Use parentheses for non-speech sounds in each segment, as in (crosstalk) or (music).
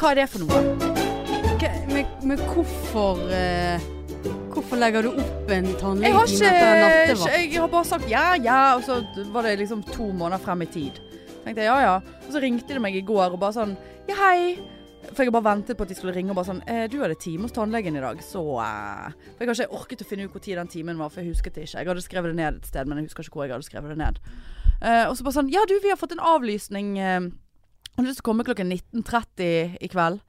hva er det for noe? Hva- Men, men hvorfor eh, Hvorfor legger du opp en Jeg har, tannlegetime etter en ikke, nattevakt? jeg har bare sagt ja, ja, og så var det liksom to måneder frem i tid. Tenkte jeg ja, ja. Og så ringte de meg i går og bare sånn ja, hei. For jeg har bare ventet på at de skulle ringe og bare sånn eh, Du hadde time hos tannlegen i dag, så eh. For jeg har ikke orket å finne ut hvor tid den timen var, for jeg husket det ikke. Jeg hadde skrevet det ned et sted, men jeg husker ikke hvor jeg hadde skrevet det ned. Eh, og så bare sånn Ja, du, vi har fått en avlysning. Eh, har du lyst til å komme klokken 19.30 i kveld?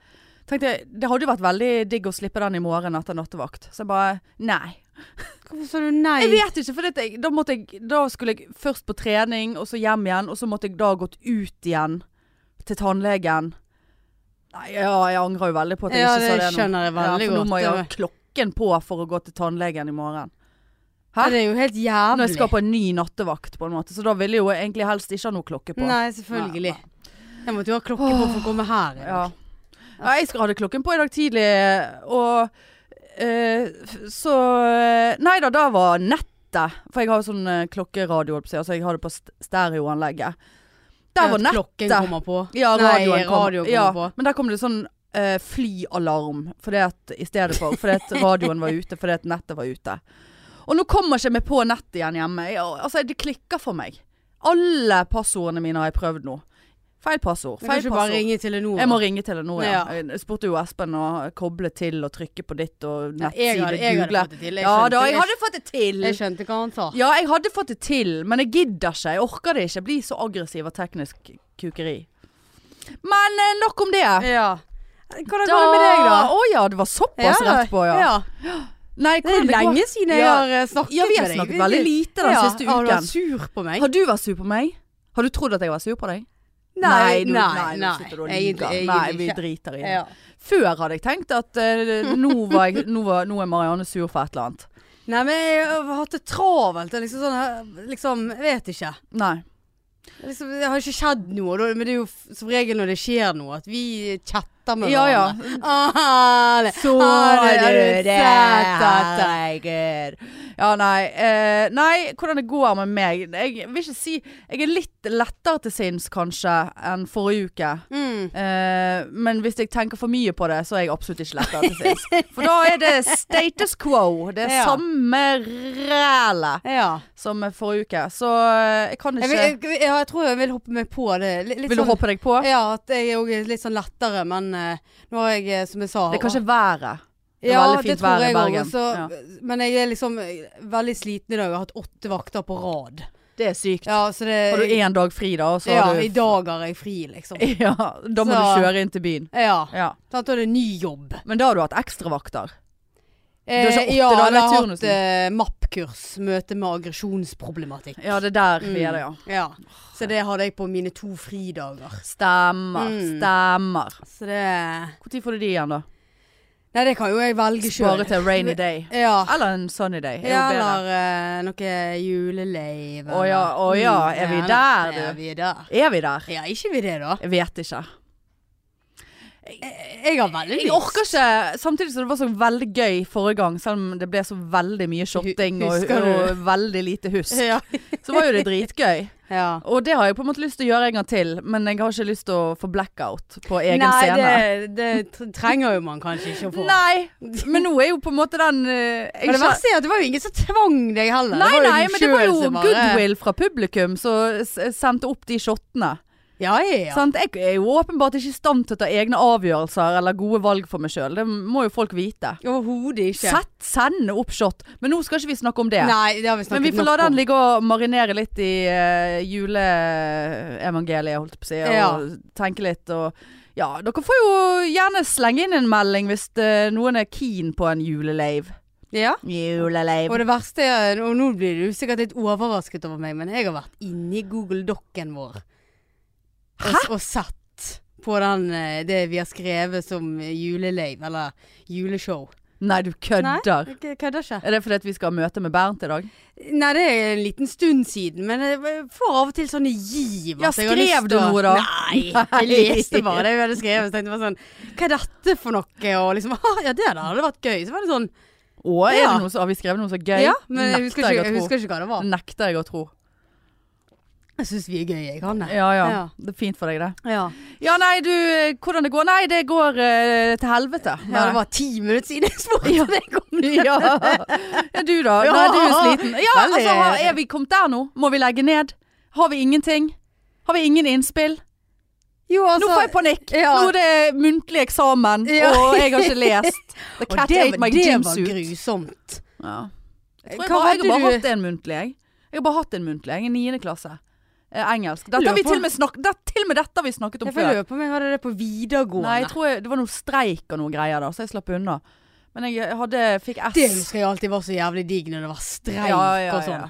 Tenkte jeg, Det hadde jo vært veldig digg å slippe den i morgen etter nattevakt. Så jeg bare Nei. Hvorfor sa du nei? Jeg vet ikke, for dette, da, måtte jeg, da skulle jeg først på trening, og så hjem igjen, og så måtte jeg da gått ut igjen til tannlegen. Nei, ja, jeg angrer jo veldig på at jeg Ja, ikke sa det det nå. skjønner jeg veldig for nå må godt, jeg ja. ha klokken på for å gå til tannlegen i morgen. Hæ? Det er jo helt jævlig. Når jeg skal på en ny nattevakt, på en måte. Så da ville jeg jo egentlig helst ikke ha noe klokke på. Nei, selvfølgelig. Jeg måtte jo ha klokke på for å komme her. i dag. Ja. ja, jeg skal ha det klokken på i dag tidlig, og eh, f- så eh, Nei da, da var nettet. For jeg har jo sånn eh, klokkeradio, holdt på å si, altså jeg har det på st- stereoanlegget. Der var At Klokken nettet. kommer på. Ja, Nei, radioen kom. radioen kommer ja, på. Men der kom det sånn eh, flyalarm for det at, i stedet for. Fordi at radioen var ute, fordi at nettet var ute. Og nå kommer ikke vi på nettet igjen hjemme. Jeg, altså, det klikker for meg. Alle passordene mine har jeg prøvd nå. Feil passord. Jeg kan Feil ikke bare passord. ringe Telenor. Jeg må ringe Telenor, ja. Jeg spurte jo Espen å koble til og trykke på ditt og Ja, jeg nettside, hadde- jeg hadde google. fått det til. Jeg Ja da, jeg hadde fått det til. skjønte- jeg- Jeg skjønte hva han sa. Ja, jeg hadde fått det til, men jeg gidder ikke. Jeg orker det ikke. Jeg blir så aggressiv av teknisk kukeri. Men eh, nok om det. Ja. Hvordan går det med deg, da? Å ja, det var såpass rett på, ja. Nei, Det er hvordan går- lenge siden jeg Ja. har eh, snakket Ja, vi har med deg. snakket veldig lite den Ja, siste Har du uken. vært sur på meg? Har du vært sur på meg? Har du trodd at jeg var sur på deg? Nei, du- nei, nei, nei. nå slutter du å Egentlig- lyve. egentlig Nei, vi ikke. driter i det. Ja. Før hadde jeg tenkt at eh, (laughs) nå, var jeg, nå, var, nå er Marianne sur for et eller annet. Nei, men jeg har hatt det travelt. Det er Liksom sånn, eh, liksom, jeg vet ikke. Nei. Liksom, det har ikke skjedd noe, da- men det er jo f- som regel når det skjer noe, at vi chatter med Ja, ja. hverandre. Ah, det- ah, det- har du sett dette? tiger? Ja, nei. eh, nei, hvordan det går med meg Jeg vil ikke si Jeg er litt lettere til sinns kanskje enn forrige uke. Mm. Eh, men hvis jeg tenker for mye på det, så er jeg absolutt ikke lettere til sinns. For da er det status quo. Det er (laughs) Ja. samme rælet Ja. som forrige uke. Så eh, jeg kan Jeg, ikke vil, Vil, jeg, ja, jeg tror jeg vil hoppe meg på det. Litt, litt du sånn- hoppe deg på? Ja, at jeg òg er litt sånn lettere, men eh, nå har jeg, eh, som jeg sa Det er kanskje været. Det er Ja, veldig det fint tror vær i jeg Bergen. også. Men jeg er liksom eh, veldig sliten i dag. Jeg har hatt åtte vakter på rad. Det er sykt. Ja, så det Har du én dag fri, da, og så Ja, har du i dag har jeg fri, liksom. (laughs) Ja, da må Så- du kjøre inn til byen. Ja. Ja. Sant, og det er ny jobb. Men da har du hatt ekstravakter. Eh, ikke åtte ja, dager jeg har hatt turnusen. eh, MAP-kurs. Møte med aggresjonsproblematikk. Ja, det er der vi er det, ja. Mm, ja. Så det hadde jeg på mine to fridager. Stemmer. Mm. Stemmer. Så det Når får du de igjen, da? Nei, det kan jo jeg velge sjøl. Spare til (laughs) rainy day. Ja. Eller en sunny day. Er jo bedre. Eller eh, noe juleleiv. Å ja, å ja, er vi der, du? Ja, vi er der. Er vi der? Ja, ikke vi det, da? Jeg vet ikke. Jeg har veldig lyst. Jeg orker ikke. Samtidig som det var så veldig gøy forrige gang, selv om det ble så veldig mye shotting og, husker du? og veldig lite (laughs) husk, Ja. så var jo det dritgøy. ja. Og det har jeg på en måte lyst til å gjøre en gang til, men jeg har ikke lyst til å få blackout på egen Nei, scene. det, det tr- trenger jo man kanskje ikke å få. Nei, (laughs) men nå er jo på en måte den eh, jeg Men det skjø- verste er at det var jo ingen som tvang deg heller. Nei, var jo nei, du men det var selv jo som bare- goodwill fra publikum som s- sendte opp de shotene. Ja, ja, ja. Sant? Jeg er jo åpenbart ikke i stand til å ta egne avgjørelser eller gode valg for meg sjøl. Det må jo folk vite. Overhodet ikke. Sett, send opp shot. Men nå skal ikke vi snakke om det. Nei, det har vi snakket Men vi får la nok om. den ligge og marinere litt i eh, juleevangeliet, holdt jeg på å si. Og Ja. tenke litt og Ja, dere får jo gjerne slenge inn en melding hvis eh, noen er keen på en juleleiv. Ja. Juleleiv. Og det verste er, og nå blir du sikkert litt overrasket over meg, men jeg har vært inni Google Doc-en vår. Og, og sett på den, eh, det vi har skrevet som juleleiv, eller juleshow. Nei, du kødder. Nei, jeg kødder ikke. Er det fordi at vi skal ha møte med Bernt i dag? Nei, det er en liten stund siden, men jeg får av og til sånne giv. Ja, at jeg har lyst skrev du til å- noe da? (laughs) Nei, jeg leste bare det vi hadde skrevet. Så tenkte jeg bare sånn, hva er dette for noe? Og liksom, (laughs) «Ah, ja det der hadde vært gøy. Så var det sånn, Og er Ja. det noe så, har vi skrevet noe så gøy? ja, men jeg Nekter husker, ikke, jeg å jeg tro. husker ikke hva det var. Nekter jeg å tro. Jeg syns vi er gøy, jeg, Hanne. Ja, ja. Ja. Det er fint for deg, det. Ja. Ja, nei, du eh, Hvordan det går? Nei, det går eh, til helvete. ja, det var ti minutter siden jeg spurte Ja. deg om det. (laughs) ja. ja, du da? Ja. Nei, du er sliten. Ja, Veldig. altså, har, er vi kommet der nå? Må vi legge ned? Har vi ingenting? Har vi ingen innspill? Jo, altså, Nå får jeg panikk! Ja. Nå er det muntlig eksamen, Ja. og jeg har ikke (laughs) lest. The Og cat det, ate my det gym var suit. grusomt. Ja. Jeg, Hva tror jeg, bare, jeg hadde har bare du- hatt en muntlig, jeg. Jeg har bare hatt en muntlig, jeg. I niende klasse. Eh, engelsk. Dette Lurer har vi på- til og med snakket det, Til og med dette har vi snakket om Jeg før. lurer på om jeg hadde det på videregående. Nei, jeg tror jeg, det var noe streik og noe greier da, så jeg slapp unna. Men jeg, jeg hadde, fikk S. Det husker jeg alltid var så jævlig digg når det var streik Ja, ja, og sånn. ja.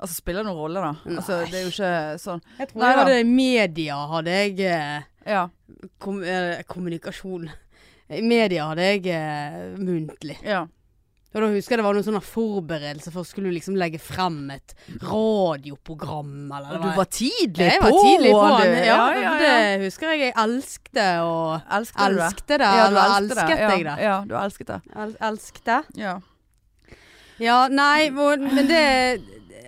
Altså, spiller det noen rolle da? Altså, Nei. det er jo ikke sånn. Jeg tror Nei jeg da. hadde media hadde jeg eh, Ja, kom, eh, Kommunikasjon. I Media hadde jeg eh, muntlig. ja. Og da husker jeg det var noen sånne forberedelser for skulle du liksom legge frem et radioprogram eller Og du var tidlig jeg på, var tidlig på du. den. Ja, Ja, ja, ja. Det husker jeg. Jeg elskte å Elsket du det? Elskte det, Ja, du eller elsket elsket ja, jeg det? Ja, du elsket det. El elskte? Ja. Ja, nei, og- men det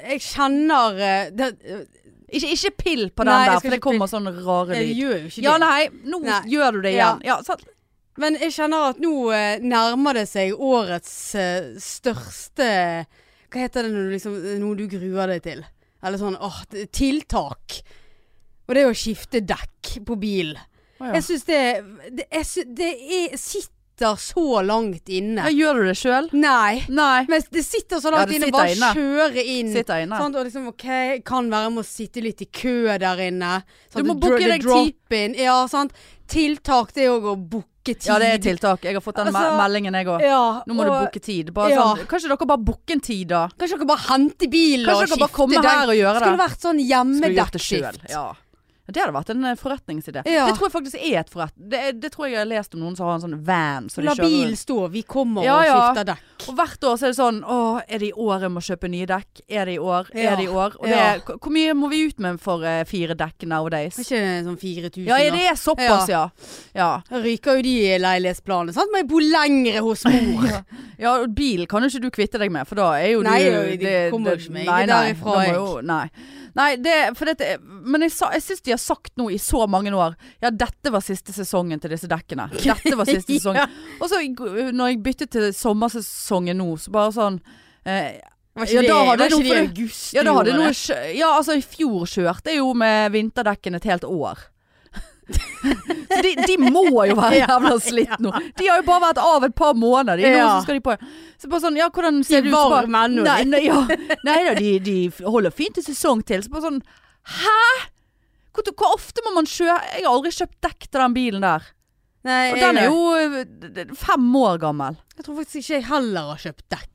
Jeg kjenner eh, det, Ikke, ikke pill på den Nei, der, jeg skal for det ikke kommer sånne rare Jeg lyd. gjør jo ikke Ja, det. nei, nå Nei. gjør du det Ja. igjen. Ja, sant. Men jeg kjenner at nå eh, nærmer det seg årets eh, største Hva heter det når du liksom Noe du gruer deg til? Eller sånn åh, t- tiltak. Og det å skifte dekk på bil. Å, ja. Jeg syns det, det, jeg sy- det er, sitter så langt inne. Ja, gjør du det selv? Nei. Nei. Men det sitter Ja, så langt det inne. sitter Bare inne. kjøre inn. Sitter inne. Sant? Og liksom, ok, kan være med å sitte litt i kø der inne. Du Sånn, må Det dro- booke det deg tid. drop-in. Ja, sant. Tiltak, det er jo å booke tid. Ja, det er tiltak. Jeg har fått den me- Altså, meldingen jeg òg. Ja, Nå må du og- booke tid. Bare ja. sånn, kanskje dere bare booker en tid, da? Kanskje dere bare henter bilen og Kanskje skifter dere bare kommer dekk? her og gjør det? Skulle vært sånn Skulle gjort det hjemmedekkskift. selv, Ja. Ja, Det hadde vært en eh, forretningsidé. Ja. Det tror jeg faktisk er et forret... Det, er- det tror jeg jeg har lest om noen som har en sånn van. Så de La kjører bil rundt. stå, vi kommer Ja, og ja. skifter dekk. Og hvert år så er det sånn Å, er det i år jeg må kjøpe nye dekk? Er det i år? Ja. Er det i år? Og det, Ja. hvor- Hvor mye må vi ut med for eh, fire dekk nowadays? Er ikke det sånn 4000 Ja, er det er såpass, ja. Ja. Da ryker jo de i leilighetsplanene, sant? Må jeg bo lengre hos mor. ja og bil kan jo ikke du kvitte deg med, for da er jo Nei, du jo, de kommer jo ikke med. Nei, Ikke nei, derifra, da må jo- Nei. nei det, for dette, men jeg, sa- jeg syns de har sagt nå i så mange år Ja, dette var siste sesongen til disse (laughs) dekkene. Dette var siste sesongen. Ja. Og så i g- når jeg byttet til sommersesongen nå, så bare sånn eh, Var Ja, ikke Altså, det, da hadde var jeg ikke noe det i for- august? Ja, da du hadde gjorde noe det? kjø- Ja, altså i fjor kjørte jeg jo med vinterdekken et helt (laughs) år. Så de, de må jo være jævla slitt nå. De har jo bare vært av et par måneder. De, nå Ja. så skal de på. Så bare sånn, ja, hvordan ser De det ut? Så bare- varme ennå, de. Nei, nei, ja. nei da, de, de holder fint en sesong til. Så bare sånn, hæ? Hvor, hvor ofte må man kjøre? Jeg har aldri kjøpt dekk til den bilen der. Nei, Og jeg, den er jo eh, fem år gammel. jeg tror faktisk ikke jeg heller har kjøpt dekk.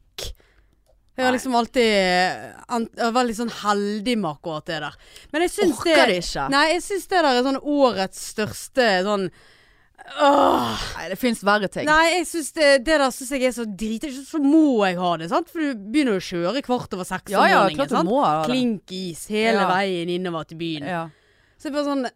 Jeg har Nei. liksom alltid eh, an- Jeg var litt sånn heldig med akkurat det der. Men jeg syns det Orker det ikke. Nei, jeg syns det der er sånn årets største sånn Åh! Nei, det finnes verre ting. Nei, jeg synes det, det der synes jeg er så drit Så så må jeg ha det, sant? For du begynner jo å kjøre kvart over seks Ja, om ja, morgenen. klart du sant? må. ha det. Klinkis hele Ja. veien innover til byen. Ja. Så det er bare sånn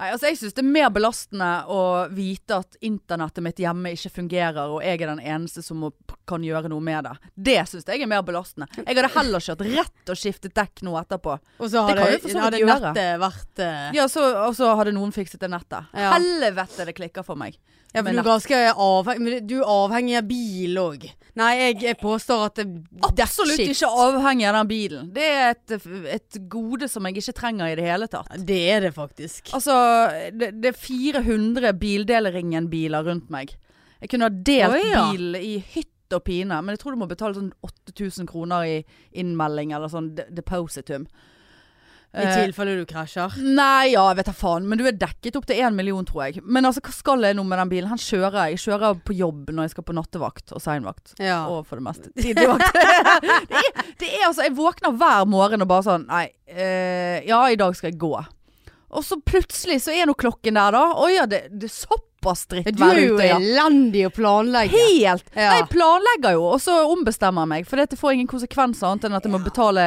Nei, altså Jeg syns det er mer belastende å vite at internettet mitt hjemme ikke fungerer, og jeg er den eneste som må, kan gjøre noe med det. Det syns jeg er mer belastende. Jeg hadde heller kjørt rett og skiftet dekk nå etterpå. Og Det så hadde, kan jo for så vidt hadde gjøre. nettet vært eh, Ja, så, Og så hadde noen fikset det nettet. Ja. Helvete, det klikker for meg. Ja, Med for du er nett. ganske avhengig Men du er avhengig av bil òg. Nei, jeg, jeg påstår at det Absolutt dekkskift- ikke avhengig av den bilen. Det er et, et gode som jeg ikke trenger i det hele tatt. Det er det faktisk. Altså, det, det er 400 bildeleringen-biler rundt meg. Jeg kunne ha delt Oi, ja. bil i hytt og pine, men jeg tror du må betale sånn 8000 kroner i innmelding eller sånn de- depositum. Eh, I tilfelle du krasjer. Nei, ja, jeg vet da faen, men du er dekket opp til én million, tror jeg. Men altså, hva skal jeg nå med den bilen? Han kjører jeg. Jeg kjører på jobb når jeg skal på nattevakt og seinvakt. Ja. (laughs) Og for det meste tidligvakt. det, er, det er altså Jeg våkner hver morgen og bare sånn Nei, eh, ja, i dag skal jeg gå. Og så plutselig så er nå klokken der, da. Å ja, det, det er såpass Ja, Du drittvær er jo ute, ja. elendig å planlegge. Helt! Ja. Nei, jeg planlegger jo, og så ombestemmer jeg meg. For dette får ingen konsekvenser annet enn at jeg må betale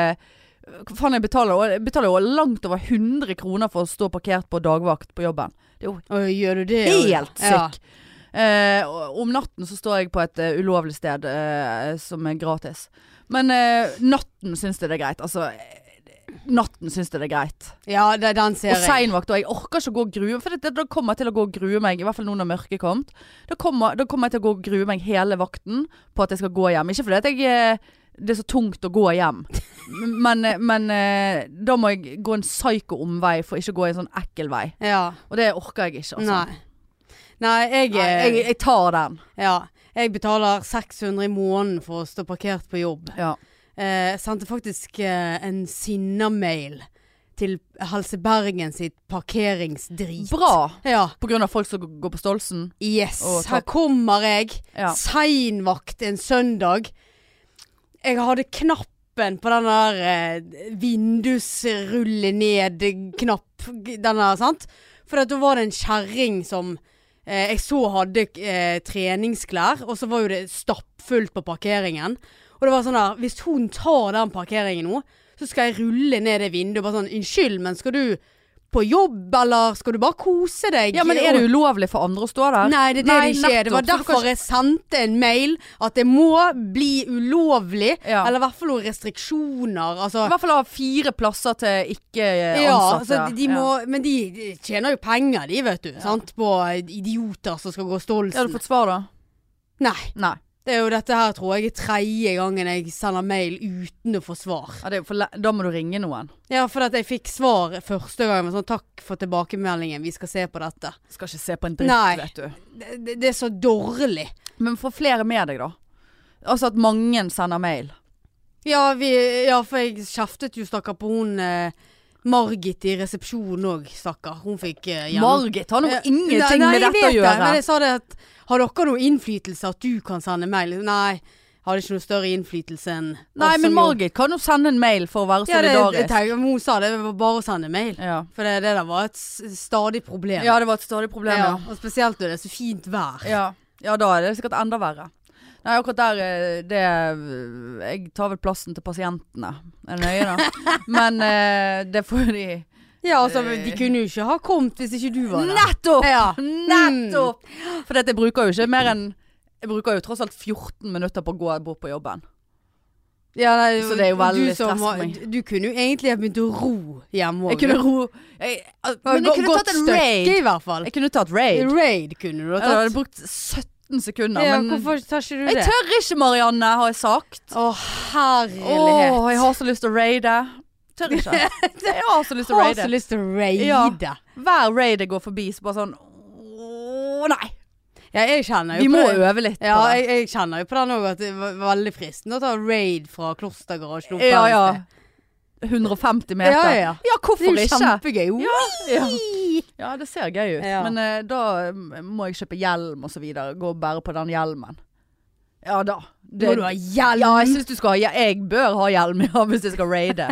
Hva faen jeg betaler? Og Jeg betaler jo langt over 100 kroner for å stå parkert på dagvakt på jobben. Det er jo Å, gjør du det? helt Ja. sick. Eh, og om natten så står jeg på et eh, ulovlig sted eh, som er gratis. Men eh, natten syns jeg det er greit. Altså, eh, natten syns jeg det er greit. Ja, det, den ser Og jeg. seinvakt. Og jeg orker ikke å gå og grue For det, det, da kommer jeg til å gå og grue meg, i hvert fall nå når mørket er kommet. Da kommer, da kommer jeg til å gå og grue meg hele vakten på at jeg skal gå hjem. Ikke fordi at jeg eh, det er så tungt å gå hjem, (laughs) men, eh, men eh, da må jeg gå en psyko omvei for ikke å gå en sånn ekkel vei. Ja. Og det orker jeg ikke, altså. Nei. Nei, jeg, eh, Nei, jeg, jeg tar den. Ja. Jeg betaler 600 i måneden for å stå parkert på jobb. Ja. Eh, sendte faktisk eh, en sinna-mail til Helse Bergen sitt parkeringsdrit. Bra. Ja. På grunn av folk som g- går på Stolsen. Yes, Og her tatt- kommer jeg. Ja. Seinvakt en søndag. Jeg hadde knappen på den der eh, vindusrulle-ned-knapp. Den der, sant? For at da var det en kjerring som eh, jeg så hadde eh, treningsklær, og så var jo det stappfullt på parkeringen. Og det var sånn der Hvis hun tar den parkeringen nå, så skal jeg rulle ned det vinduet. Bare sånn Unnskyld, men skal du på jobb, eller skal du bare kose deg? ja, men er det ulovlig for andre å stå der? Nei, det er det Nei, det ikke er. Det var nettopp, så du kan derfor jeg sendte en mail at det må bli ulovlig. Ja. Eller i hvert fall noen restriksjoner. Altså, I hvert fall ha fire plasser til ikke eh, ja, ansatte. så de- de må, Men de, de tjener jo penger, de, vet du. Sant? På idioter som skal gå ja. Har du Stolsen. fått svar, da? Nei. Nei. Det er jo dette her, tror jeg, er tredje gangen jeg sender mail uten å få svar. Ja, det er jo for le da må du ringe noen. Ja, for at jeg fikk svar første gangen. men Sånn, takk for tilbakemeldingen, vi skal se på dette. Skal ikke se på en dritt, Nei. vet du. Det, det, det er så dårlig. Men få flere med deg, da. Altså at mange sender mail. Ja, vi, ja for jeg kjeftet jo stakkar på hun eh, Margit i resepsjonen òg, stakkar. Hun fikk eh, gjennom- Margit har noe Eh, ingenting nei, nei, med jeg dette å vet gjøre. Det, men jeg sa det at har dere noen innflytelse at du kan sende mail? Nei, hadde ikke noe større innflytelse enn Nei, oss men som Altså, jo- Margit kan jo sende en mail for å være ja, det, det, solidarisk. tenker jeg, Hun sa det, det var bare å sende mail. Ja, For det, det der var et s- stadig problem. ja, det var et stadig problem, ja. Ja, Og spesielt når det er så fint vær. ja. Ja, da er det sikkert enda verre. Nei, akkurat der eh, det Jeg tar vel plassen til pasientene. Er det nøye, (laughs) da? Men eh, det får de Ja, altså, De kunne jo ikke ha kommet hvis ikke du var der. Nettopp! Ja. Nettopp! For dette, jeg bruker jo ikke mer enn Jeg bruker jo tross alt 14 minutter på å gå bort på jobben. Ja, nei, Så det er jo veldig du som stress for var- meg. Du kunne jo egentlig ha begynt å ro hjemme òg. Jeg kunne ro jeg, al- Men jeg kunne tatt en raid. i hvert fall. Jeg kunne tatt raid. Raid kunne du ha Jeg hadde tatt. brukt 17 sekunder. Ja, men hvorfor tar ikke du jeg det? tør ikke, Marianne, har jeg sagt. Å, herlighet. Åh, jeg har så lyst til å raide. Tør (laughs) ikke. Jeg har så lyst til å har så raide. lyst til å raide. Ja. Ja. Hver raid jeg går forbi, så bare sånn Åh, nei. jeg kjenner jo Vi på må det. øve litt på Ja, det. jeg, jeg kjenner jo på den òg at det var veldig fristende å ta raid fra klostergarasjen. opp Ja, her ja. et sted. 150 meter. Ja, ja. ja Det hvorfor er jo ikke? kjempegøy. Ja, ja. Ui. Ja, det ser gøy ut. Ja. Men eh, da mm, må jeg kjøpe hjelm og så videre. Gå og bære på den hjelmen. Ja da. Det, Må du ha hjelm? Ja, jeg syns du skal ha ja, Jeg bør ha hjelm (laughs) ja, hvis jeg skal raide.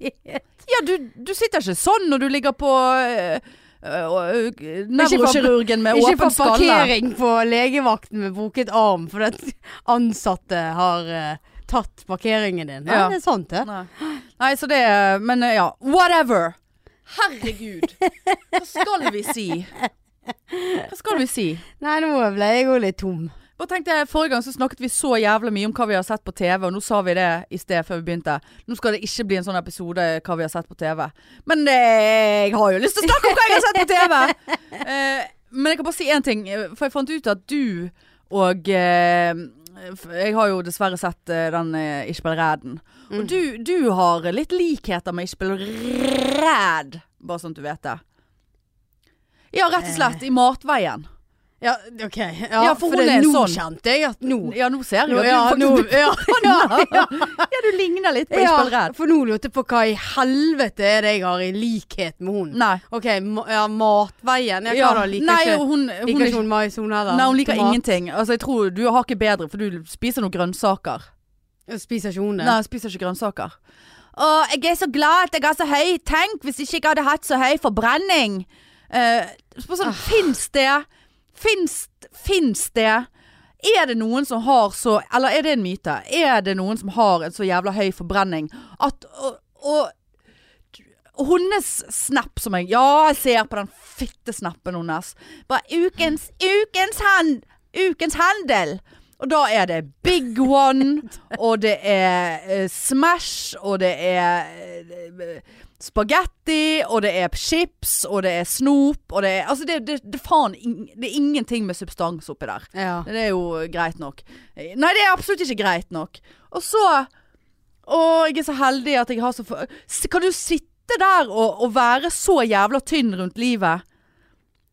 ja, du, du sitter ikke sånn når du ligger på øh, nevrokirurgen eh, med Ikke Eh, åpen for skalle. parkering på legevakten med bruket arm fordi at (laughs) ansatte har eh, tatt parkeringen din. Nei, Ja. det er sant, det. Nei. Nei, så det Men eh, ja, whatever. Herregud. Hva skal vi si? Hva skal vi si? Nei, nå ble jeg jo litt tom. Bare tenkte jeg, Forrige gang så snakket vi så jævlig mye om hva vi har sett på TV, og nå sa vi det i sted før vi begynte. Nå skal det ikke bli en sånn episode hva vi har sett på TV. Men eh, jeg har jo lyst til å snakke om hva jeg har sett på TV! (laughs) Eh, men jeg kan bare si én ting, eh, for jeg fant ut at du og eh, f- Jeg har jo dessverre sett eh, den eh, Ikke bli redd-en. Mm. Og du, du har litt likheter med Ikke bli redd, bare sånn at du vet det. Ja, rett og Eh. slett. I matveien. Ja, OK. Ja, Ja, for for, hun det er nå sånn. kjente jeg at nå Ja, nå ser jeg nå, jo at ja, du nå, faktisk ja, (laughs) (laughs) ja, ja, Ja, du ligner litt på Isabel ja, Redd. for nå lurte jeg på hva i helvete er det jeg har i likhet med hun. Nei. OK, ma ja, matveien. Jeg ja, da liker Nei, ikke og hun, hun, hun, liker er ikke hun mais, hun heller. Nei, hun liker Tomat. ingenting. Altså, jeg tror Du har ikke bedre, for du spiser noen grønnsaker. Spiser ikke hun det? Nei, jeg spiser ikke grønnsaker. Å, jeg er så glad at jeg har så høy Tenk hvis ikke jeg hadde hatt så høy forbrenning. Uh, Ah. sånn, Fins det? Fins, fins det? Er det noen som har så Eller er det en myte? Er det noen som har en så jævla høy forbrenning at Og, og hennes snap som jeg Ja, jeg ser på den fittesnappen hennes. Bare ukens, ukens, hand, ukens handel. Og da er det Big One, og det er eh, Smash, og det er eh, spagetti, og det er chips, og det er snop, og det er Altså, det, det, det, faen, ing- det er ingenting med substans oppi der. Ja. Det er jo greit nok. Nei, det er absolutt ikke greit nok. Og så Å, jeg er så heldig at jeg har så få- S- Kan du sitte der og, og være så jævla tynn rundt livet?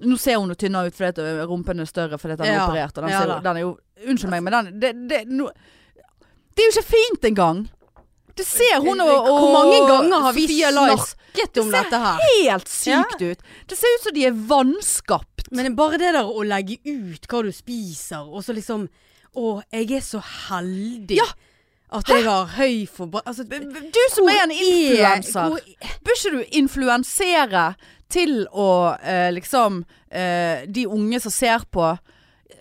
Nå ser hun jo tynnere ut fordi at ø, rumpen er større fordi at den er Ja, operert. Og den, ja ser, jo- da. den er jo Unnskyld meg, men den det, det, nå- det er jo ikke fint engang! Det ser hun og, og Hvor mange ganger har vi Sophia Lice snakket om Det ser dette her? helt sykt ut? Det ser ut som de er vanskapt. Men bare det der å legge ut hva du spiser, og så liksom Å, jeg er så heldig Ja. at jeg har høy forbruk... Altså, Du som er en influenser. hvor- Bør ikke du influensere til å eh, liksom eh, De unge som ser på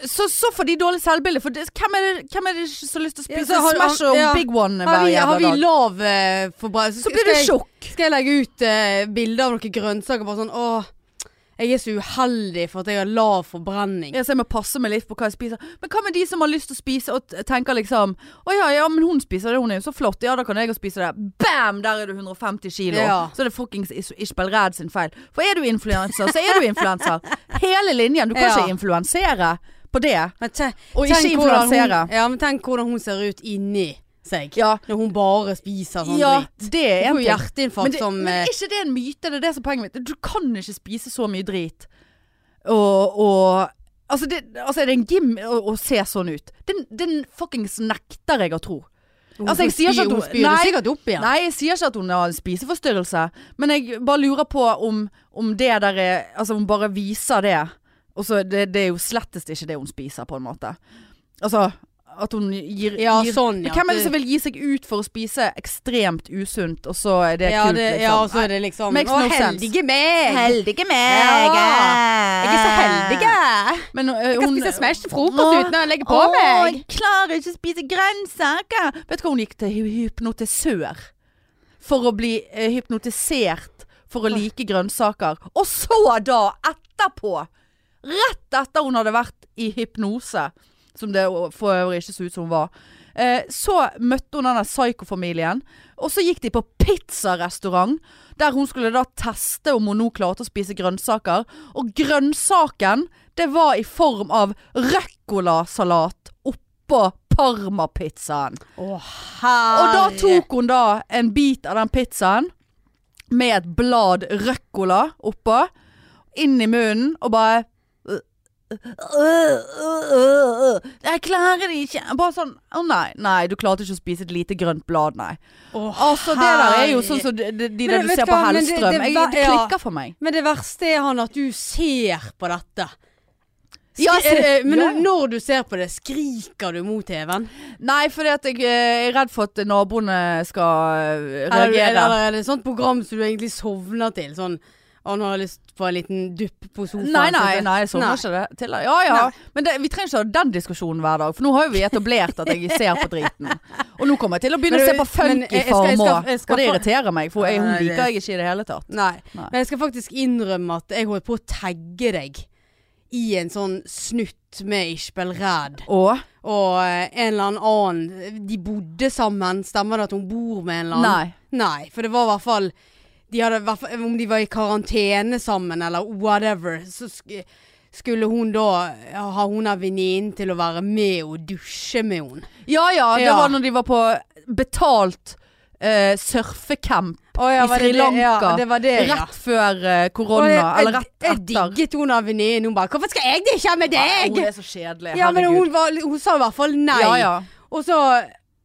så, så får de dårlig selvbilde. For det, hvem, er det, hvem er det ikke som har lyst til å Ja, spise så har- Smash og ja. Big One Har hver vi, har jævla vi dag? lav eh, forbruk? Så blir du tjukk. Skal jeg legge ut eh, bilder av noen grønnsaker bare sånn Å, jeg er så uheldig for at jeg har lav forbrenning. Ja, så jeg må passe meg litt på hva jeg spiser. Men hva med de som har lyst til å spise og t- tenker liksom Å ja, ja, men hun spiser det, hun er jo så flott. Ja, da kan jeg jo spise det. Bam! Der er du 150 kilo. Ja. Så er det fuckings Is- Ishbel Red sin feil. For er du influenser, så er du (laughs) influenser. Hele linjen. Du kan Ja. ikke influensere på det. Men te- Og ikke tenk hvordan hun- influensere. Ja, men tenk hvordan hun ser ut inni seg. Ja. Når hun bare spiser sånn ja, dritt. det er en Hun får ting. Men, hjerteinfarkt det, som men eh, er ikke det en myte? Det er det som er poenget mitt. Du kan ikke spise så mye drit. Og, og altså, det, altså, er det en gim å, å se sånn ut? Den, den fuckings nekter jeg å tro. hun altså, jeg får sier ikke spy- at hun- Hun spyr det Nei. sikkert opp igjen. Nei, jeg sier ikke at hun har en spiseforstyrrelse, men jeg bare lurer på om, om det der er Altså, hun bare viser det. Og så det, det er jo slettest ikke det hun spiser, på en måte. Altså at hun gir, Ja, gir sånn, Men ja. Hvem er det Du- som vil gi seg ut for å spise ekstremt usunt, og så er det ja, kult, det, liksom? ja, og så er det liksom Makes no Å, sense. heldige meg! Heldige meg, eh. Jeg er så heldig. jeg. Men, øh, Jeg kan hun- spise smash til frokost uten å legge på Åh, meg. Jeg klarer ikke å spise grønnsaker. Vet du hva hun gikk til hy- hypnotisør for å bli eh, hypnotisert for å like grønnsaker. Og så da, etterpå, rett etter hun hadde vært i hypnose, som det å- for øvrig ikke så ut som hun var, eh, så møtte hun denne psykofamilien, og så gikk de på pizzarestaurant, der hun skulle da teste om hun nå klarte å spise grønnsaker. Og grønnsaken, det var i form av røkkolasalat oppå parmapizzaen. Og da tok hun da en bit av den pizzaen med et blad røkkola oppå, inn i munnen og bare Jeg klarer det ikke. Bare sånn Å nei, nei, du klarte ikke å spise et lite grønt blad, nei. Altså, det der er jo sånn som de, de, de der Men du vet ser du på hva, men det- Hellstrøm. det Jeg- var- Det ja. klikker for meg. Men det verste er han at du ser på dette. Skri Ja, se- eh, men ja. når du ser på det, skriker du mot TV-en? Nei, fordi at jeg eh, er redd for at naboene skal eh, Eller, reagere. eller er det et sånt program som du egentlig sovner til? Sånn han har lyst på en liten dupp på sofaen. sånn- Nei, nei, så- nei, jeg sovner ikke det til. Ja, ja. Nei. Men det, vi trenger ikke ha den diskusjonen hver dag, for nå har jo vi etablert at jeg ser på driten. Og nå kommer jeg til å begynne Men å du- se på men jeg- jeg skal- jeg Funkyfarm skal- òg, jeg skal og det få- irriterer meg, for jeg, hun Nei, det- liker jeg ikke i det hele tatt. Nei. Nei. Men jeg skal faktisk innrømme at jeg holdt på å tagge deg i en sånn snutt med Ishbel Red. Og Og eh, en eller annen annen De bodde sammen. Stemmer det at hun bor med en eller annen? Nei. Nei, for det var i hvert fall de hadde, i hvert fall- Om de var i karantene sammen eller whatever, så sk skulle hun da ha hun av venninnen til å være med og dusje med henne. Ja ja, det Ja. var når de var på betalt eh, surfecamp i var det Sri det- Lanka. ja, det var det, ja. Rett før eh, korona, Og jeg- eller rett Jeg, jeg etter. digget hun av venninnen. Hun bare 'Hvorfor skal jeg dusje med Å, det deg?' er så kjedelig. Ja, men Herregud. hun, var, hun sa i hvert fall nei. Ja, ja. Og så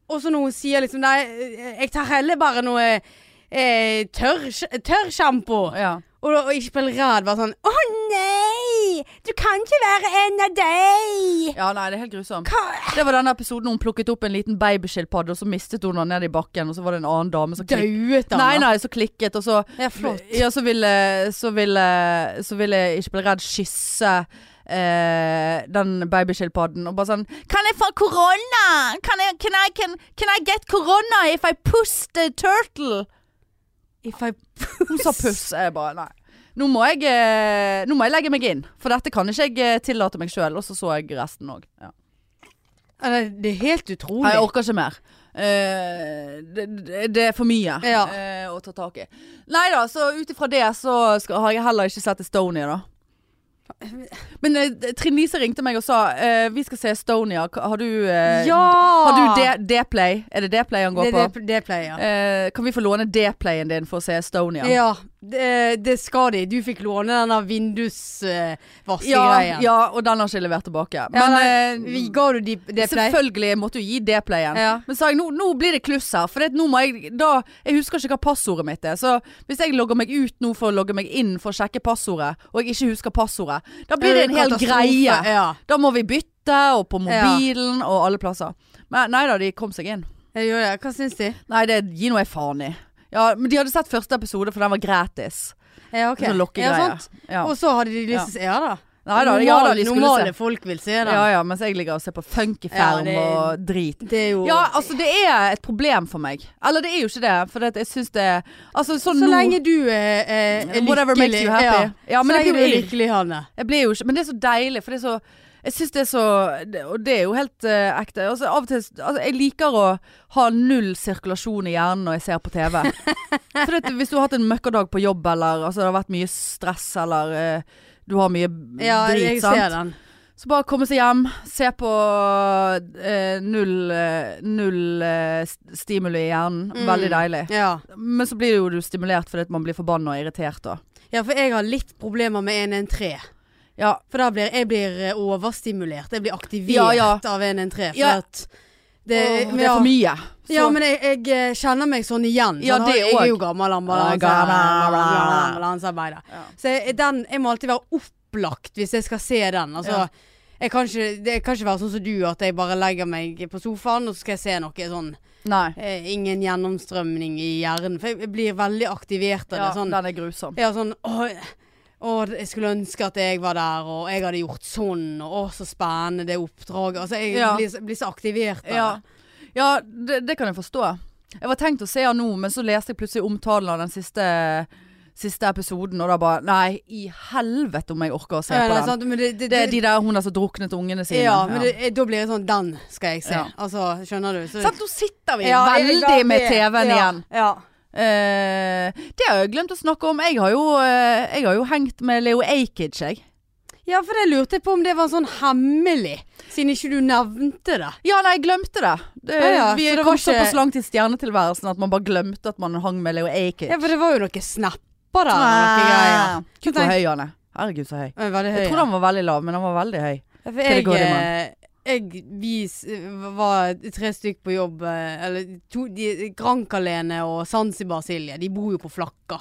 og så når hun sier liksom 'Nei, jeg tar heller bare noe eh, tørr tørrsjampo'. ja. Og, da- og Ishbel Rad var sånn Å nei! Du kan ikke være en av deg! ja, nei, det er helt grusomt. Hva? Det var denne episoden hun plukket opp en liten babyskilpadde, og så mistet hun den ned i bakken, og så var det en annen dame som klikket. Dauet han? Nei, da? nei, så klikket, og så Ja, flott. Ja, så ville, så ville, så ville ikke bli redd kysse eh, den babyskilpadden, og bare sånn Kan jeg få korona? Kan jeg, can I, can, can I get korona if I puss the turtle? If I (laughs) Hun sa puss, jeg bare nei. Nå må, jeg, eh, nå må jeg legge meg inn, for dette kan ikke jeg eh, tillate meg sjøl. Og så så jeg resten òg. Ja. Eller, det er helt utrolig. Nei, jeg orker ikke mer. Eh, det, det, det er for mye Ja. eh, å ta tak i. Nei da, så ut ifra det så skal, har jeg heller ikke sett Estonia, da. Men eh, Trine Lise ringte meg og sa eh, vi skal se Estonia. Ka- Har du eh, ja! Har du D- D-play? Er det D-play han går det, på? det, det pleier. Eh, kan vi få låne D-playen din for å se Estonia? Ja, det, det skal de. Du fikk låne denne ja, vindusvaskegreien. ja, og den har ikke jeg levert tilbake. Ja, Men nei, eh, vi ga du de, det pleier? Selvfølgelig måtte du gi det playen. Ja. Men sa jeg nå, nå blir det kluss her. For det, at nå må jeg, da, jeg husker ikke hva passordet mitt er. Så hvis jeg logger meg ut nå for å logge meg inn for å sjekke passordet, og jeg ikke husker passordet, da blir det en hel Katastrofe, greie. Ja. Da må vi bytte, og på mobilen, og alle plasser. Men nei da, de kom seg inn. Jeg gjorde det. Hva syns de? Nei, det gir noe jeg faen i. Ja, men de hadde sett første episode, for den var gratis. Ja, ok. Sånn Ja, lokkegreier. sant. Ja, Og så hadde de lyst til å se ja, da. Nei da, ja da, de skulle normale se. folk vil se den. Ja, ja, mens jeg ligger og ser på Ja, funkyferm det- og drit. Det er jo Ja, altså det er et problem for meg. Eller det er jo ikke det, for det at jeg syns det er altså, sånn Så nå- lenge du er, er, er Whatever makes you happy. Ja, men så jeg blir lenge du er jo irr. lykkelig, Hanne. jeg blir jo ikke, Men det er så deilig, for det er så Jeg syns det er så det- Og det er jo helt eh, ekte. Altså, av og til altså, Jeg liker å ha null sirkulasjon i hjernen når jeg ser på (laughs) TV. for det, at hvis du har hatt en møkkadag på jobb, eller altså, det har vært mye stress, eller eh, du har mye Ja, jeg drit, sant. ser den. Så bare komme seg hjem, se på eh, null, eh, null eh, st- stimuli i hjernen. Mm. Veldig deilig. Ja. Men så blir det jo du stimulert fordi at man blir forbanna og irritert da. ja, for jeg har litt problemer med 113. Ja, For da blir jeg blir eh, overstimulert. Jeg blir aktivert Ja, ja. av 113. For Ja. at det, Åh, men det er ja. for mye. Så- Ja, men jeg, jeg eh, kjenner meg sånn igjen. Ja, sånn, det jeg også. er jo gammel ambulanse- Ja, gammel ambulanse- sånn, eh, ambulansearbeider. Ja. Så jeg, den, jeg må alltid være opplagt hvis jeg skal se den. Altså, Ja. jeg, kan ikke, det kan ikke være sånn som du, at jeg bare legger meg på sofaen og så skal jeg se noe sånn Nei. eh, Ingen gjennomstrømning i hjernen. For jeg blir veldig aktivert av Ja, det. Sånn, Den er grusom. ja, sånn åh, åh, jeg skulle ønske at jeg var der, og jeg hadde gjort sånn, og åh, så spennende det oppdraget. Altså, jeg Ja. blir, så- blir så aktivert av Ja, ja det, det kan jeg forstå. Jeg var tenkt å se han nå, men så leste jeg plutselig omtalen av den siste, siste episoden, og da bare Nei, i helvete om jeg orker å se det. på Ja, det den. er sant, men det, det, Det er de der hun der som druknet ungene sine. Ja, men det, da blir jeg sånn Den skal jeg se. Ja. Altså, skjønner du? Så, Sant, nå sitter vi Ja, jeg ga veldig med det. TV-en ja, igjen. Ja. Eh, det har jeg glemt å snakke om. Jeg har jo, eh, jeg har jo hengt med Leo Ajkic, jeg. ja, for det lurte jeg på om det var sånn hemmelig, siden ikke du nevnte det. Ja, nei, jeg glemte det. det Ja, ja, vi så det kom var ikke- såpass langt i stjernetilværelsen at man bare glemte at man hang med Leo Ajkic. Ja, for det var jo noen snapper der og noen greier. Gud, hvor høy han er. Herregud, så høy. Jeg er veldig høy. Jeg trodde han var veldig lav, men han var veldig høy. Ja, for Til det jeg, går i eh, jeg vi s- var tre stykk på jobb, eh, eller to de- Grankalene og Zanzibar Silje, de bor jo på Flakka.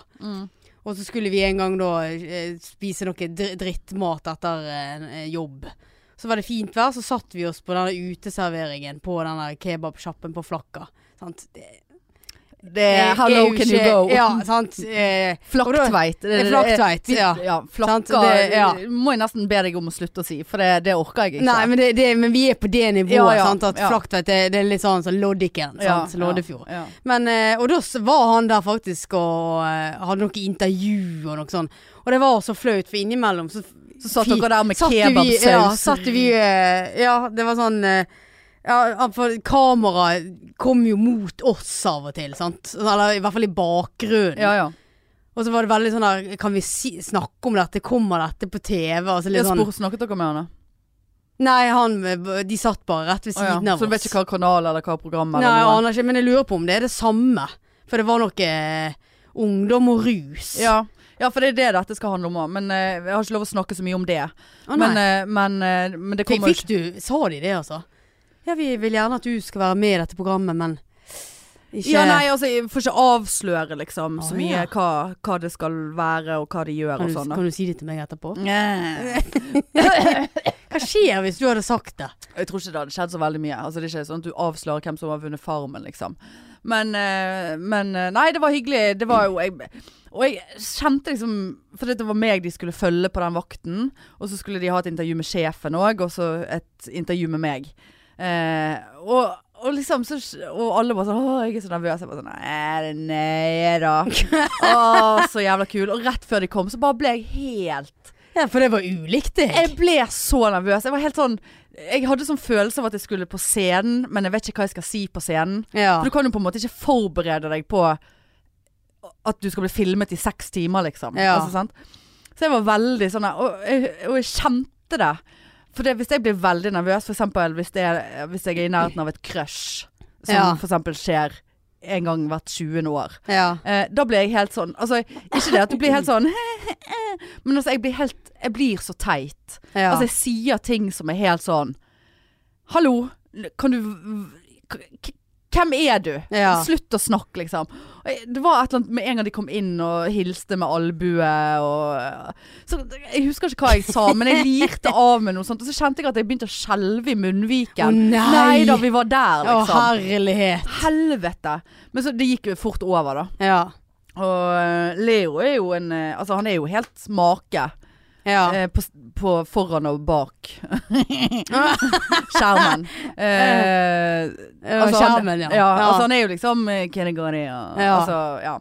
Og så skulle vi en gang da eh, spise noe dr- drittmat etter eh, jobb. Så var det fint vær, så satt vi oss på denne uteserveringen på denne kebabsjappen på Flakka. Sant? Det, Det er Hello, er jo Eh, can ikke- you go? Ja, (laughs) sant. Eh, Flaktveit. Det- eh, det- Flaktveit, det- ja. ja Sant, flakka det- ja. må jeg nesten be deg om å slutte å si, for det, det orker jeg ikke. Nei, men, det, det, men vi er på det nivået, Ja, ja, sant. At ja. Flaktveit det, det er litt sånn som Loddiken, Ja, sant. Loddefjord. Ja, ja. Men, eh, og da s- var han der faktisk og eh, hadde noe intervju og noe sånn. Og det var så flaut, for innimellom så Så satt fi- dere der med satt vi- kebabsaus. Ja, satt vi eh, Ja, det var sånn eh, ja, for kameraet kom jo mot oss av og til, sant. Eller i hvert fall i bakgrunnen. ja, ja. Og så var det veldig sånn der Kan vi si, snakke om dette? Kommer dette på TV? Altså litt Jeg sånn spurte, snakket dere med han da? Nei, han De satt bare rett ved Å ja. siden av oss. Så du vet ikke hva kanal eller hva program Nei, jeg eller aner ikke, men jeg lurer på om det er det samme. For det var noe eh, ungdom og rus. Ja. ja, for det er det dette skal handle om òg. Men eh, jeg har ikke lov å snakke så mye om det. Å, nei. men, eh, men, eh, men det fikk, kommer jo fikk du Sa de det, altså? Ja, vi vil gjerne at du skal være med i dette programmet, men ikke Ja, nei, altså jeg får ikke avsløre liksom så Å, mye ja. hva, hva det skal være og hva de gjør kan, og du, sånn. da. kan du si det til meg etterpå? Nye. Hva skjer hvis du hadde sagt det? Jeg tror ikke det hadde skjedd så veldig mye. Altså, det er ikke sånn at du avslører hvem som har vunnet Farmen, liksom. Men, eh, men eh, Nei, det var hyggelig. Det var jo jeg, Og jeg kjente liksom For det var meg de skulle følge på den vakten. Og så skulle de ha et intervju med sjefen òg, og så et intervju med meg. Eh, og, og liksom så, Og alle var sånn Å, jeg er så nervøs. Jeg var sånn «Nei, det er (laughs) Nøye, da. Å, så jævla kul. Og rett før de kom, så bare ble jeg helt Ja, for det var ulikt deg. Jeg ble så nervøs. Jeg var helt sånn Jeg hadde sånn følelse av at jeg skulle på scenen, men jeg vet ikke hva jeg skal si på scenen. Ja. For du kan jo på en måte ikke forberede deg på at du skal bli filmet i seks timer, liksom. Ja. Altså, sant? Så jeg var veldig sånn der, og, jeg- og jeg kjente det. For det, hvis jeg blir veldig nervøs, f.eks. Hvis, det- hvis jeg er i nærheten av et crush, som Ja. for f.eks. skjer en gang hvert 20. år, ja. eh, da blir jeg helt sånn Altså, ikke det at du blir helt sånn (laughs) Men altså, jeg blir helt Jeg blir så teit. ja. Altså, jeg sier ting som er helt sånn Hallo, kan du k- Hvem er du? ja. Slutt å snakke, liksom. Og jeg- Det var et eller annet med en gang de kom inn og hilste med albue og så, Jeg husker ikke hva jeg sa, men jeg lirte av med noe sånt. Og så kjente jeg at jeg begynte å skjelve i munnviken. Å, nei. da, vi var der, Å, liksom. herlighet. Helvete. Men så det gikk jo fort over, da. Ja. Og eh, Leo er jo en eh, Altså, han er jo helt make Ja. eh, på, s- på foran og (laughs) bak (laughs) skjermen. Eh, Altså, skjermen, ja. sånn, Han, ja, Altså, han er jo liksom eh, Kenegari og Ja. Altså, ja.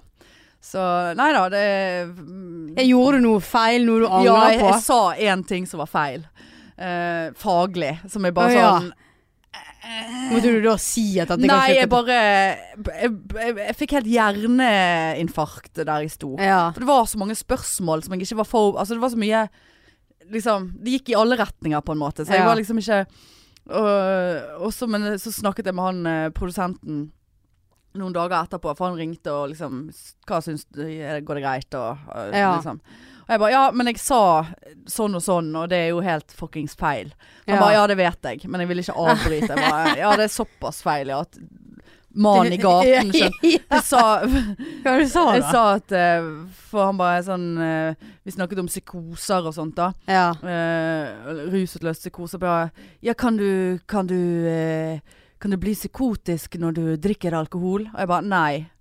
Så nei da, det mm, jeg gjorde du noe feil, noe du Ja, angrer jeg, på? jeg sa én ting som var feil. Eh, faglig. Som jeg bare Å, ja. sånn Måtte du da si at dette Nei, kan jeg bare jeg, jeg, jeg fikk helt hjerneinfarkt der jeg sto. Ja. For det var så mange spørsmål som jeg ikke var for Altså det var så mye Liksom, det gikk i alle retninger på en måte Så jeg Ja. var liksom ikke øh, Også, men så snakket jeg med han eh, Produsenten Noen dager etterpå, for han ringte og liksom s- Hva synes du, er det- går det greit og, øh, Ja. liksom. Og jeg bare, ja, men jeg sa Sånn og sånn, og det er jo helt Fuckings feil Han Ja. bare, ja det vet jeg, men jeg vil ikke avbryte Jeg bare, Ja, det er såpass feil, ja at Man (laughs) i gaten, skjønn Jeg sa, Hva du sa du jeg da? sa at eh, For han bare er sånn eh, Vi snakket om psykoser og sånt da. Ja. Uh, rusutløst psykose. Bare Ja, kan du Kan du eh, Kan du bli psykotisk når du drikker alkohol? Og jeg bare (laughs) nei.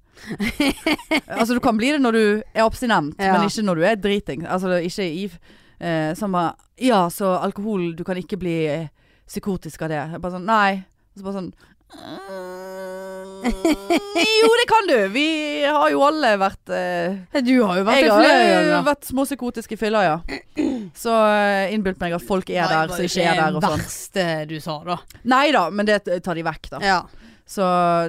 altså, du kan bli det når du er abstinent, Ja. men ikke når du er driting. Altså det er ikke i uh, Så han bare Ja, så alkohol Du kan ikke bli eh, psykotisk av det. Jeg bare sånn Nei. Og så bare sånn jo, det kan du! Vi har jo alle vært eh, (laughs) Du har jo vært jeg det har flere eh, ganger. vært småpsykotiske fyller, ja. Så eh, innbilt meg at folk er der, som ikke er der og Det sånn. verste du sa, da. Nei da, men det tar de vekk, da. Ja. Så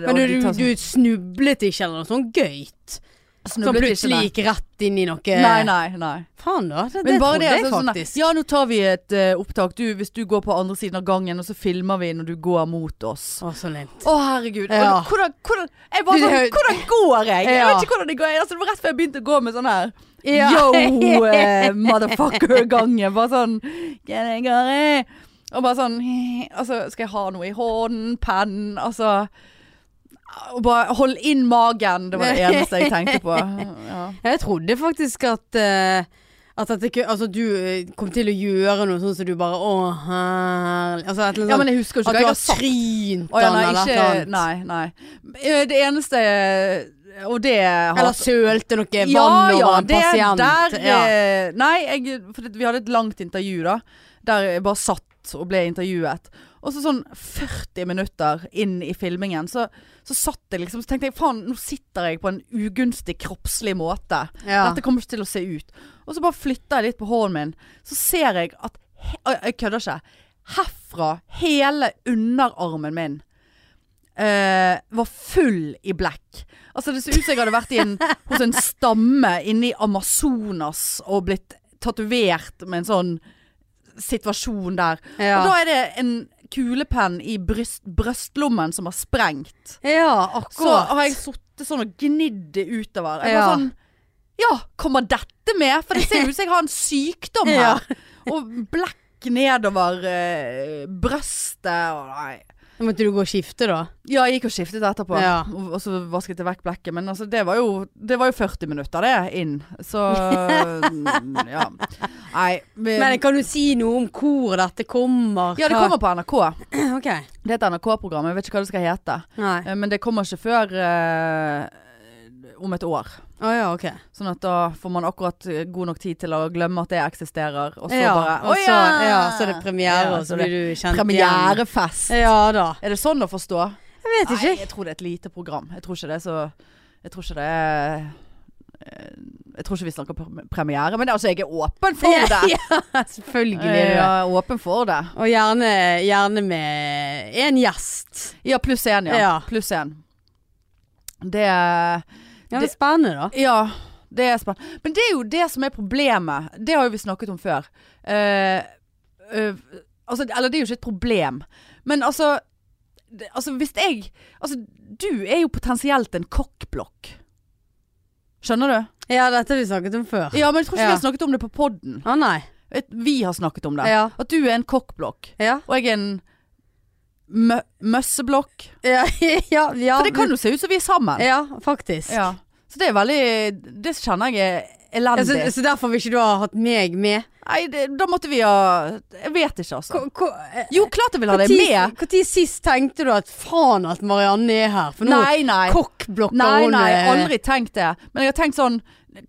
Men og du, de du, tar du snublet ikke eller noe sånn gøyt? sånn- Som snublet ikke, plutselig gikk rett inn i noe nei. Nei, nei. nei. Faen, da. Det, Men det bare trodde jeg altså, sånn der, faktisk. ja, nå tar vi et eh, opptak. Du, hvis du går på andre siden av gangen, og så filmer vi når du går mot oss. Å, Å, så lint. herregud. Ja. Og Hvordan, hvordan, jeg bare Du, sånn, det- hvordan går jeg? Jeg Ja. vet ikke hvordan det går. Jeg- Altså, det var rett før jeg begynte å gå med sånn her. Ja. Yo, eh, motherfucker-gangen. Bare sånn «Get it, get it?» Og bare sånn Altså, skal jeg ha noe i hånden? Penn? Altså og bare hold inn magen. Det var det eneste jeg tenkte på. Ja. Jeg trodde faktisk at eh, at dette ku- altså, du eh, kom til å gjøre noe sånn som du bare Å, herlig Altså et eller ja, men annet jeg husker jo sånt. ikke hva At du jeg har har sagt. trynt Å, ja, han nei, eller et ikke, eller annet. nei, nei. Eh, Det eneste Og det har Eller sølte noe vann over en det pasient. Der, ja. eh, Nei, jeg, for det- vi hadde et langt intervju da, der jeg bare satt og ble intervjuet. Og så sånn 40 minutter inn i filmingen, så, så satt jeg liksom, så tenkte jeg, faen, nå sitter jeg på en ugunstig kroppslig måte. ja. Dette kommer ikke til å se ut. Og så bare flytter jeg litt på hånden min, så ser jeg at, he, og jeg kødder ikke, herfra, hele underarmen min, eh, var full i blekk. Altså det så ut som jeg hadde vært i (laughs) en, hos en stamme inne i Amazonas og blitt tatovert med en sånn situasjon der. ja. Og da er det en kulepenn i bryst, brøstlommen som har sprengt. ja, Så akkurat. har jeg sittet sånn og gnidd det utover. Jeg var Ja. sånn Ja, kommer dette med? For det ser ut som jeg har en (laughs) sykdom Ja. her. Og blekk nedover eh, brøstet og nei. Måtte du gå og skifte, da? Ja, jeg gikk og skiftet etterpå. Ja. Og, og så vasket jeg vekk blekket. Men altså, det var jo, det var jo 40 minutter, det, inn. Så (laughs) mm, ja. Nei. vi- Men kan du si noe om hvor dette kommer? ja, det Hva- kommer på NRK. Ok. Det er et NRK-program. Jeg vet ikke hva det skal hete. Nei. Eh, Men det kommer ikke før eh, om et år. Å ja, ok. Sånn at da får man akkurat eh, god nok tid til å glemme at det eksisterer. Og så ja. bare og «Å så, ja, så er det premiere, Ja, og så så det- blir du kjent igjen. Premierefest! Ja da. Er det sånn å forstå? Jeg vet ikke. Nei, jeg tror det er et lite program. Jeg tror ikke det er så Jeg tror ikke det er eh, Jeg tror ikke vi snakker pre- premiere, men altså, jeg er åpen for det! (laughs) Ja, selvfølgelig. Jeg er du det. er åpen for det. Og gjerne, gjerne med en gjest. Ja, pluss én, ja. Ja. Pluss én. Det Ja, men spennende, da. Ja, det er spennende. Men det er jo det som er problemet. Det har jo vi snakket om før. Eh, eh, altså, eller det er jo ikke et problem. Men altså, det, altså Hvis jeg Altså, du er jo potensielt en kokkblokk. Skjønner du? Ja, dette har vi snakket om før. Å Ja, men jeg tror ikke Ja. vi har snakket om det på podden. nei. Et- Vi har snakket om det. Ja. At du er en kokkblokk, Ja. og jeg er en mø møsseblokk. Ja, (laughs) ja, ja. For det kan jo se ut som vi er sammen. Ja, faktisk. Ja. Så det er veldig Det kjenner jeg er Ja, elendig. så, så derfor vil ikke du ha hatt meg med? Nei, det, da måtte vi ha Jeg vet ikke, altså. eh, Jo, klart jeg vil ha deg med. Når sist tenkte du at faen at Marianne er her? For nå Nei, nei. kokkblokker Nei, hun nei, eh, aldri tenkt det. Men jeg har tenkt sånn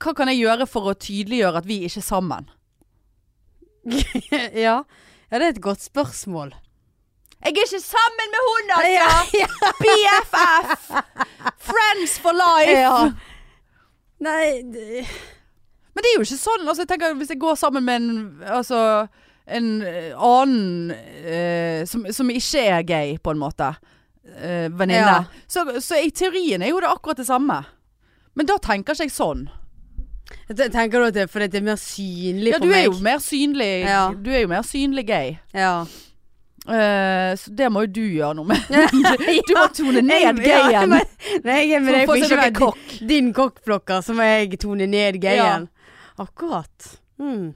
Hva kan jeg gjøre for å tydeliggjøre at vi ikke er sammen? (laughs) ja. ja, det er et godt spørsmål. Jeg er ikke sammen med hun, Ja, altså! ja. (laughs) BFF! Friends for life! Ja. Nei det- Men det er jo ikke sånn. Altså, jeg tenker Hvis jeg går sammen med en Altså en eh, annen eh, som, som ikke er gay, på en måte, eh, venninne, Ja. så, så i teorien er jo det akkurat det samme. Men da tenker ikke jeg sånn. Te- Tenker du at det er fordi det er mer synlig Ja, du på er meg? jo mer synlig Ja. Du er jo mer synlig gay. Ja. Eh, så det må jo du gjøre noe (laughs) med. Du må tone ned Jeg- ja, gayen. men- Nei, jeg er med deg For å for få sånn ikke seg noe å være kokk. di- din kokkblokker, så må jeg tone ned gayen. Akkurat. Mm.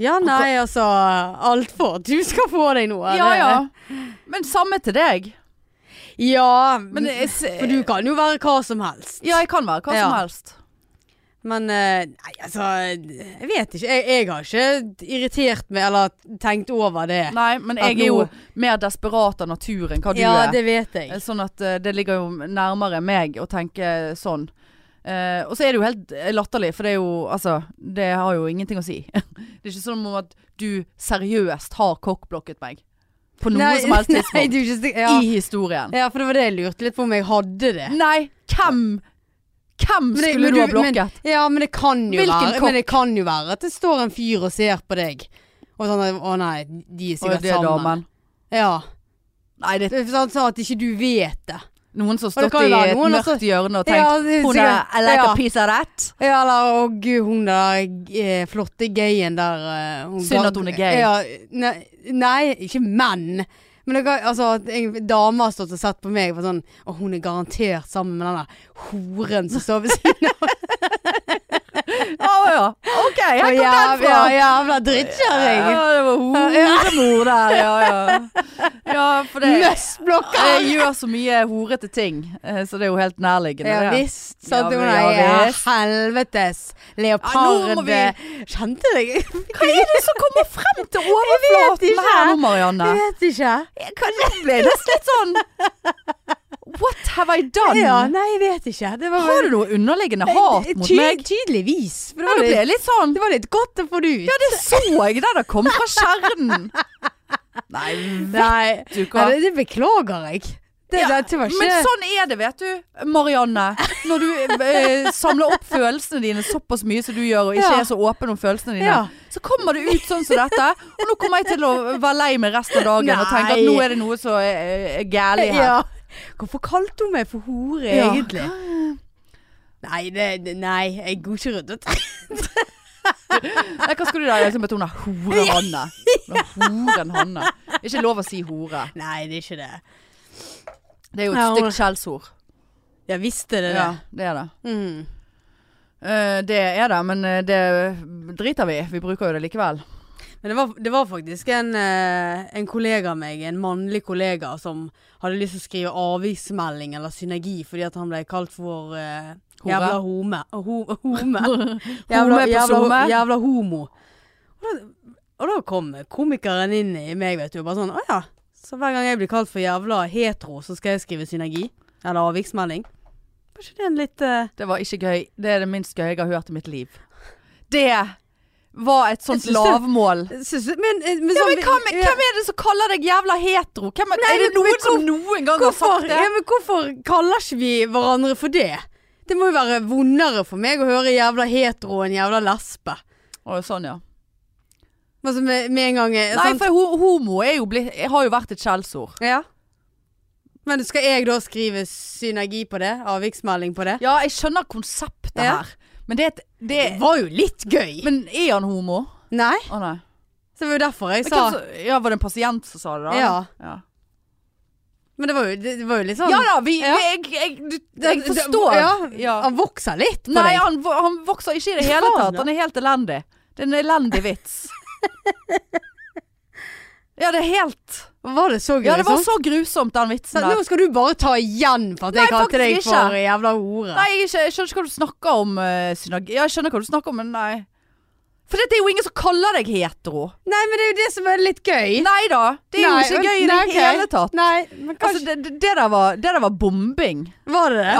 Ja, nei, altså. Alt for at du skal få deg noe. Ja det- ja. Men samme til deg. Ja, Men jeg, se- Mm. for du kan jo være hva som helst. Ja, jeg kan være hva som Ja. helst. Men eh, nei, altså, jeg vet ikke. Jeg, jeg har ikke irritert meg eller tenkt over det. Nei, men At jeg er jo nå- mer desperat av natur enn hva du ja, er. det vet jeg. Sånn at eh, det ligger jo nærmere meg å tenke sånn. Eh, og så er det jo helt eh, latterlig, for det er jo Altså, det har jo ingenting å si. (laughs) det er ikke sånn om at du seriøst har kokkblokket meg. På noe (laughs) Nei, som helst Nei, tidspunkt. du er ikke stik- ja. I Mm. historien. ja, for det var det jeg lurte litt på om jeg hadde det. Nei, hvem Hvem Men det- skulle men du ha du- men- blokket? Ja, men det kan jo Hvilken være kokk? Men det kan jo være at det står en fyr og ser på deg. Og sånn at, Å nei, de er Og sikkert det er sammen. damen. Ja. Nei, det er Det er Sånn sånn at ikke du vet det. noen som har det stått kan i jo være et noen, mørkt altså. hjørne og tenkt Ja, det er Hun er sikkert- I like ja. a piece of that. Ja, eller å gud, hun der eh, flotte gayen der eh, hun Synd ga- at hun er gay. Ja, nei, nei, ikke menn. Men det, ga- altså, at en dame har stått og sett på meg for sånn Og hun er garantert sammen med den der horen som står ved siden av. Å (laughs) ja. OK, her kom den jævla, fra. jævla drittkjerring. Ja, det var horemor der, ja ja. (laughs) Ja, for det Møssblokka! Jeg gjør så mye horete ting, eh, så det er jo helt nærliggende. Ja det. visst. Sant? Ja, hun ja, er ja, visst. helvetes Ja, nå leopard må vi- Kjente deg? (laughs) Hva er det som kommer frem til Jeg vet overflaten ikke. her nå, Marianne? Jeg vet ikke. Kanskje jeg ble nesten litt sånn What have I done? Ja, nei, jeg vet ikke. Det var Har du noe underliggende hat mot meg? Tydeligvis. For Ja, det det var litt ble litt sånn Det var litt godt å få det ut. Ja, det så jeg der det kom fra kjernen. (laughs) Nei, Nei, vet du hva. nei det, det beklager jeg. Det, Ja, dette var ikke Men sånn er det, vet du, Marianne. Når du eh, samler opp følelsene dine såpass mye som du gjør, og ikke Ja. er så åpen om følelsene dine, Ja. så kommer det ut sånn som dette. Og nå kommer jeg til å være lei meg resten av dagen og tenke at Nei. nå er det noe som er, er gærlig her. ja. Hvorfor kalte hun meg for hore, Ja. egentlig? Nei, det, det- nei, jeg går ikke rundt og Nei, hva skulle du da? Liksom at hun er hore Hanne. Hun er Horen Hanne. Ikke lov å si hore. Nei, det er ikke det. Det er jo et Ja, hun- stygt skjellsord. Jeg visste det. Ja, det. det er det. Mm. Eh, det er det, men eh, det driter vi i. Vi bruker jo det likevel. Men det var, det var faktisk en, eh, en kollega av meg, en mannlig kollega, som hadde lyst til å skrive avviksmelding eller synergi fordi at han ble kalt for eh, Hore. jævla home. Ho, (laughs) home. Home på jævla, SoMe. jævla homo. Og da, og da kom komikeren inn i meg, vet du, og bare sånn Å ja. Så hver gang jeg blir kalt for jævla hetero, så skal jeg skrive synergi. Eller avviksmelding. Var ikke det en litt eh, Det var ikke gøy. Det er det minst gøye jeg har hørt i mitt liv. Det var et sånt Jeg synes det- lavmål. synes, men, eh, men Ja, sånn- men hvem, hvem er det som kaller deg jævla hetero? Hvem er, Nei, er det men- men noen som noen gang har Hvorfor, sagt ja, det? men hvorfor kaller ikke vi hverandre for det? Det Det må jo være vondere for meg å høre jævla hetero enn jævla lesbe. Å, sånn, ja. Altså med, med en gang eh, Nei, sant? for ho homo er jo blitt, har jo vært et skjellsord. Ja. Men skal jeg da skrive synergi på det? Avviksmelding på det? Ja, jeg skjønner konseptet Ja. her. Men det, er et- det Det var jo litt gøy! Men er han homo? Nei, Å nei. så det var jo derfor jeg Men sa hvem som- ja, var det en pasient som sa det, da? Ja. Ja, Men det var jo, det, det var jo litt sånn ja da, vi, Ja. vi- jeg, jeg, du, Det- jeg det- forstår. Ja, Ja. Han vokser litt på Nei, deg. han, vo- han vokser ikke i det hele Faen, tatt. da. Han er helt elendig. Det er en elendig (laughs) vits. Ja, det er helt Var det så gøy? Ja, det var sånn? så grusomt, den vitsen Sa- der. Nå skal du bare ta igjen for at Nei, jeg kalte deg faktisk for jævla hore. Nei, jeg, er ikke, jeg skjønner ikke hva du snakker om. eh, synag- Ja, jeg skjønner hva du snakker om, men nei. For det er jo ingen som kaller deg hetero. Nei, men det er jo det som er litt gøy. Nei da. Det er Nei, jo ikke gøy i det nei, ok. hele tatt. Nei, men kanskje Altså, det, det, det, der var, det der var bombing. Var det det?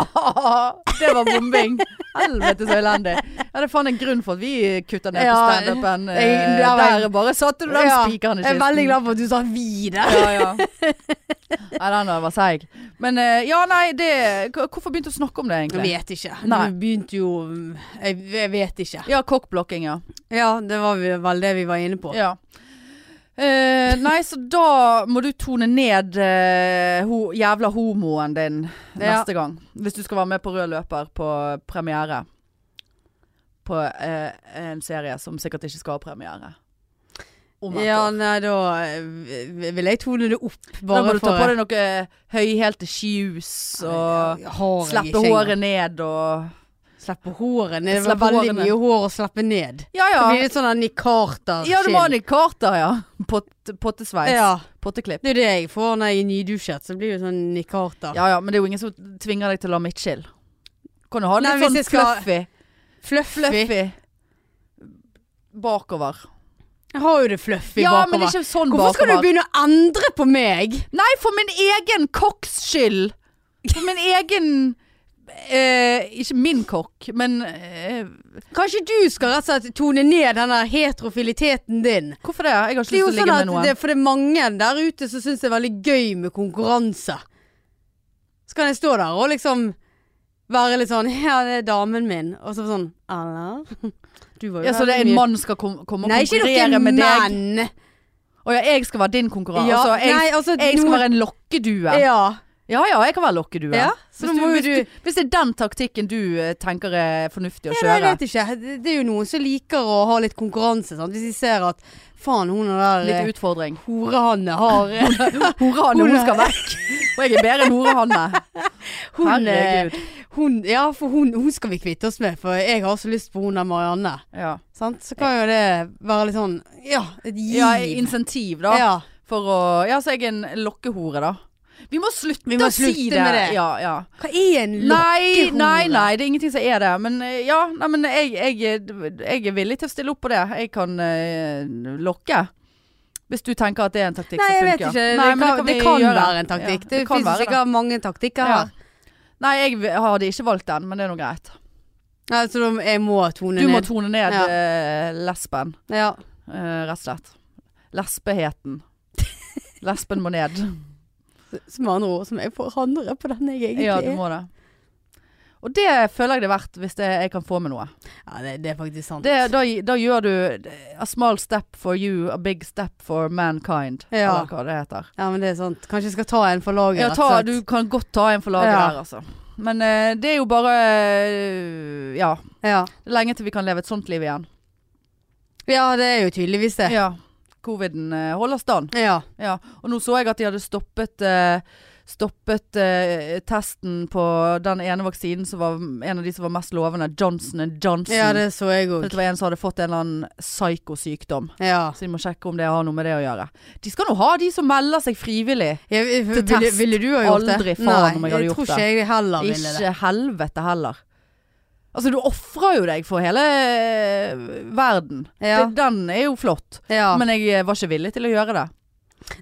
det var (laughs) bombing. Helvete så elendig. Ja, det er faen en grunn for at vi eh, kutter ned Ja, på standupen. eh, jeg- det er Der, vel- bare satte du den Ja, spikeren i Jeg er kisten. veldig glad for at du sa vi der. Ja, ja. (laughs) Nei, den der var seig. Men eh, ja, nei, det hva- Hvorfor begynte du å snakke om det, Jeg egentlig? vet ikke. Nei. Du begynte jo jeg, jeg vet ikke. Ja, kokkblokking, ja. Ja, det var vi- vel det vi var inne på. Ja. Eh, nei, så da må du tone ned eh, ho jævla homoen din Ja. neste gang. Hvis du skal være med på rød løper på premiere. På eh, en serie som sikkert ikke skal ha premiere. Om et Ja, år. nei, da eh, vil jeg tone det opp, Da må bare du ta på for deg noe eh, høyhælte shoes og Har jeg slippe ikke engang. håret ned og Slippe håret ned. Det Slippe var veldig hårene. mye hår å slippe ned. Ja Det ja. blir litt sånn der Nick Carter-skinn. Ja, du må ha Nick Carter, ja. Pott, pottesveis. Ja, Potteklipp. det er jo det jeg får når jeg er nydusjet. Så blir det sånn Nick Carter. Ja ja, men det er jo ingen som tvinger deg til å ha midtskill. Kan du ha litt Nei, hvis sånn jeg skal- fluffy? Fluffy. Fluffy. Bakover. Jeg har jo det fluffy Ja, men bakover. ikke sånn Hvorfor skal du bakover. begynne å endre på meg? Nei, for min egen kokks skyld! For min egen eh, Ikke min kokk, men eh, Kanskje du skal rett og slett tone ned den der heterofiliteten din? Hvorfor det? Jeg har ikke Det er lyst jo til å sånn ligge at med noen. det, For det er mange der ute som syns det er veldig gøy med konkurranse. Så kan jeg stå der og liksom være litt sånn Ja, det er damen min. Og så sånn (laughs) Eller? Du var jo Ja, så det er en veldig mye- mann skal kom, komme og Nei, ikke konkurrere noen med deg? menn. Å ja, jeg skal være din konkurrent. Ja, altså, jeg, nei, altså, jeg skal noen- være en lokkedue. Ja. Ja ja, jeg kan være lokkedue. ja. Så Hvis, da du, må jo hvis, du du, hvis det er den taktikken du eh, tenker er fornuftig å Ja, nei, kjøre. jeg vet ikke. Det, det er jo noen som liker å ha litt konkurranse. Sant? Hvis de ser at faen, hun er der eh, Litt utfordring. horehanne har (laughs) eh, Horehanne, (laughs) Hun hun er- skal vekk. Og jeg er bedre enn horehanne. (laughs) hun, eh, Herregud. hun, Ja, for hun, hun skal vi kvitte oss med, for jeg har så lyst på hun der Marianne. Ja. Sant? Så kan jo det være litt sånn Ja, et giv. ja, insentiv da. Ja. For å Ja, så jeg er en lokkehore, da. Vi må slutte Vi må å si slutte det. med det. Ja, ja. Hva er en lokk? Nei, Lokkehore. nei, nei, det er ingenting som er det. Men eh, ja, nei, men jeg, jeg, jeg er villig til å stille opp på det. Jeg kan eh, lokke. Hvis du tenker at det er en taktikk liksom, Nei, jeg som vet funker. ikke. Det Nei, men kan, det vi kan gjøre. være en taktikk. Ja, det kan finnes være sikkert mange taktikker Ja. her. Nei, jeg hadde ikke valgt den, men det er nå greit. Nei, så Altså, da- jeg må tone Du må ned. tone ned Ja. eh, lesben, ja. eh, rett og slett. Lesbeheten. (laughs) Lesben må ned. Som andre ord, som jeg forandrer på den jeg egentlig Ja, er. du må det. Og det føler jeg det er verdt hvis det, jeg kan få med noe. Ja, det, det er faktisk sant. Det, da, da gjør du a small step for you, a big step for mankind. Ja. Eller hva det heter. Ja, men det er sant. Kanskje jeg skal ta en for laget, Ja, rett og ta, slett. du kan godt ta en for laget Ja. der, altså. Men eh, det er jo bare eh, Ja. Ja. Det er lenge til vi kan leve et sånt liv igjen. ja, det er jo tydeligvis det. Ja. Coviden eh, holder stand. Ja. Ja, og nå så jeg at de hadde stoppet eh, Stoppet eh, testen på den ene vaksinen som var en av de som var mest lovende, Johnson Johnson. ja, det så jeg For òg. det var en som hadde fått en eller annen psykosykdom. Ja. Så de må sjekke om det har noe med det å gjøre. De skal nå ha de som melder seg frivillig. Jeg, ville, test. ville du ha gjort det? Aldri faen om jeg hadde Nei, gjort tror det. ikke jeg heller ville det. Ikke helvete heller. Altså, du ofrer jo deg for hele eh, verden. Ja. Det, den er jo flott. Ja. Men jeg eh, var ikke villig til å gjøre det.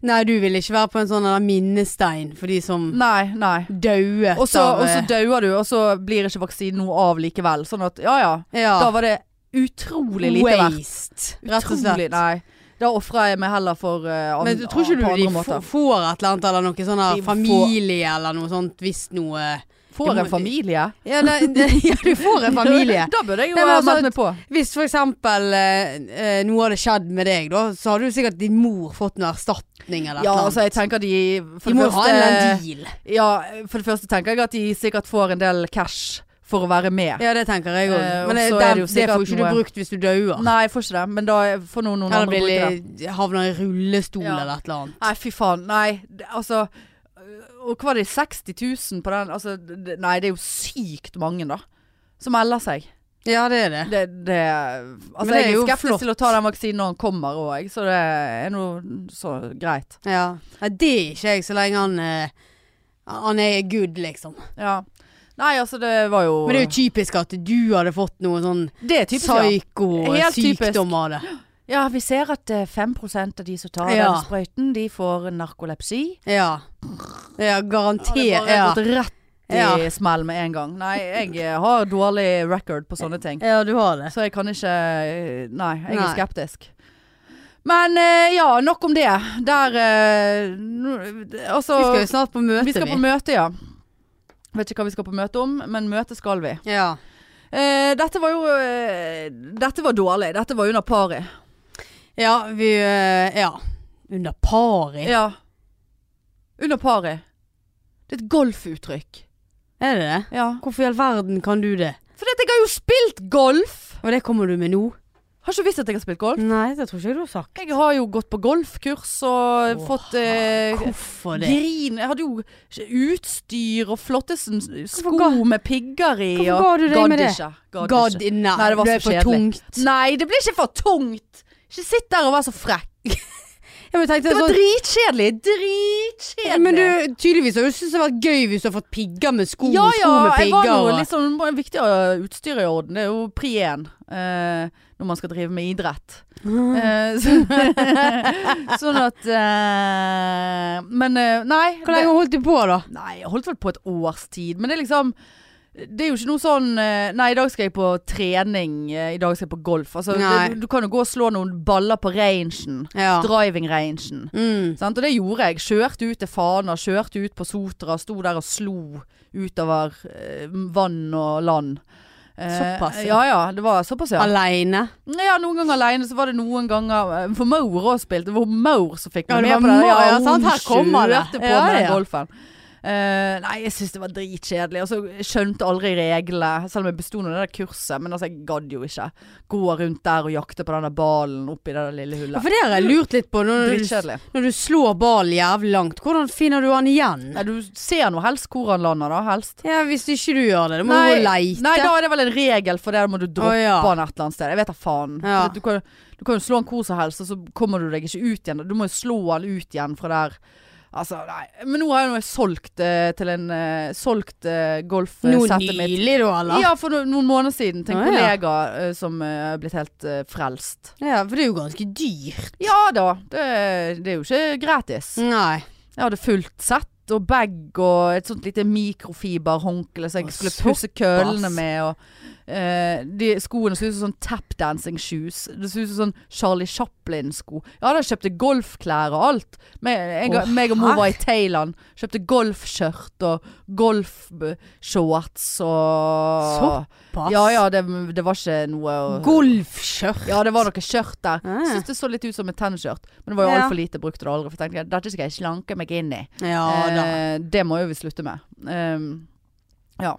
Nei, du ville ikke være på en sånn der minnestein for de som Nei, nei. dauet Og så av og så eh, dauer du, og så blir ikke vaksinen noe av likevel. Sånn at ja ja, da ja, var det utrolig lite verdt. waste, rett og Utrolig, slett. nei. Da ofrer jeg meg heller for eh, an- Men du tror på ikke du de andre f- måter. får et eller annet, eller noe sånn der De får- familie eller noe sånt, hvis noe Det Får må- en familie. Ja, det, det, (laughs) ja du får (laughs) en familie. Da burde jeg jo Nei, men ha altså, meldt meg på. Hvis for eksempel eh, eh, noe hadde skjedd med deg, da, så hadde jo sikkert din mor fått noe erstatning eller Ja, noe. altså jeg tenker de for det de må jo ha en eller første- annen deal. Ja, for det første tenker jeg at de sikkert får en del cash for å være med. Ja, det tenker jeg òg. Eh, og Men det, så det, er det jo det, får sikkert ikke du noe- brukt hvis du dauer. Nei, jeg får ikke det, men da får noen, noen Eller andre bruke det. blir havner i rullestol Ja. eller et eller annet. Nei, fy faen. Nei, det- altså øh, Og hva var det, 60 000 på den? Altså, det- nei, det er jo sykt mange, da. Som melder seg. Ja, det er det. Det, det Altså, Men det er jeg er jo skeptisk flott. til å ta den vaksinen når den kommer òg, så det er nå så greit. Ja. Nei, det er ikke jeg, så lenge han eh, han er good, liksom. Ja. Nei, altså, det var jo Men det er jo typisk at du hadde fått noe sånn Det er typisk, ja. Helt typisk. psyko-sykdom av det. Ja, vi ser at eh, 5 av de som tar Ja. den sprøyten, de får narkolepsi. Ja. ja Det garantert. bare Ja, gått rett i Ja. smell med en gang. Nei, jeg eh, har dårlig record på sånne ting. ja, du har det. Så jeg kan ikke eh, Nei, jeg Nei. er skeptisk. Men eh, ja, nok om det. Der eh, nå- Altså Vi skal jo snart på møte, vi skal på møte, ja. Vet ikke hva vi skal på møte om, men møte skal vi. Ja. Eh, dette var jo eh, Dette var dårlig. Dette var under pari. ja, vi eh, Ja. Under pari. Ja. Under pari. Det er et golfuttrykk. Er det det? Ja. Hvorfor i all verden kan du det? Fordi at jeg har jo spilt golf! Og det kommer du med nå? Har ikke visst at jeg har spilt golf. Nei, det tror ikke jeg du har sagt. Jeg har jo gått på golfkurs og Åh, fått eh, Hvorfor det? grin Jeg hadde jo utstyr og flotte s- sko ga- med pigger i. Hvorfor og- ga du deg Gadd med det? ikke. Gadd God, ikke. nei, Nei, det var det så er for kjedelig. tungt. Nei, det blir ikke for tungt! Ikke sitt der og vær så frekk. Ja, men, tenkte, Det var sånn, dritkjedelig! Dritkjedelig! men du, tydeligvis har du syntes det har vært gøy hvis du har fått pigger med sko, ja, ja, sko med jeg var pigger. jo og- liksom det var viktig å ha utstyret i orden. Det er jo pri én eh, når man skal drive med idrett. Eh, så, (laughs) sånn at eh, Men eh, nei. Hvor lenge holdt du på da? det- Nei, jeg holdt vel på et års tid. Men det er liksom det er jo ikke noe sånn eh, Nei, i dag skal jeg på trening. eh, I dag skal jeg på golf. Altså, Nei. det, du kan jo gå og slå noen baller på rangen. Ja. Driving-rangen. Mm. Sant? Og det gjorde jeg. Kjørte ut til Fana, kjørte ut på Sotra, sto der og slo utover eh, vann og land. Eh, Såpass, ja. ja. ja det var såpass, ja. Aleine? ja. Noen ganger alene, så var det noen ganger eh, For Maur òg spilte. Det var Maur som fikk Ja, meg det med var på det. Maur, ja, sant? Her hun kommer det. kjørte på Ja, med den ja. golfen. Eh, nei, jeg syns det var dritkjedelig. Altså, jeg skjønte aldri reglene, selv om jeg besto noe av det der kurset. Men altså, jeg gadd jo ikke gå rundt der og jakte på denne ballen oppi det der lille hullet. For det har jeg lurt litt på. Når du, Dritkjedelig. når du slår ballen jævlig langt, hvordan finner du den igjen? Nei, du ser nå helst hvor han lander, da. Helst. Ja, Hvis ikke du gjør det, da må du gå og leite. nei, da er det vel en regel for det. Da må du droppe Å, ja. han et eller annet sted. Jeg vet da faen. Ja. Du, kan, du kan jo slå han hvor som helst, og så kommer du deg ikke ut igjen. Du må jo slå han ut igjen fra der. Altså, nei. Men nå har jeg nå solgt eh, til en eh, Solgt eh, Noe golfsettet mitt. nylig da, eller? Ja, for no noen måneder siden til en Å, ja. kollega eh, som eh, er blitt helt eh, frelst. Ja, for det er jo ganske dyrt. Ja da, det, det er jo ikke gratis. Nei. Jeg hadde fullt sett og bag og et sånt lite mikrofiberhåndkle som Å, jeg skulle såpass. pusse køllene med. Og, eh, de skoene så ut som sånn tapdancing shoes. Det så ut som sånn Charlie Chaplin-sko. Ja, da kjøpte golfklær og alt. Meg, jeg, Å, meg og mor var i herre. Thailand. Kjøpte golfskjørt og golfshorts og Pass. Ja ja, det, det var ikke noe å- Golfskjørt. ja, det var noe skjørt der. Ah. Syns det så litt ut som et tennisskjørt. Men det var jo Ja. altfor lite, brukte det aldri. For jeg tenkte jeg, dette skal jeg slanke meg inn i. Ja da. Eh, det må jo vi slutte med. Ehm, ja.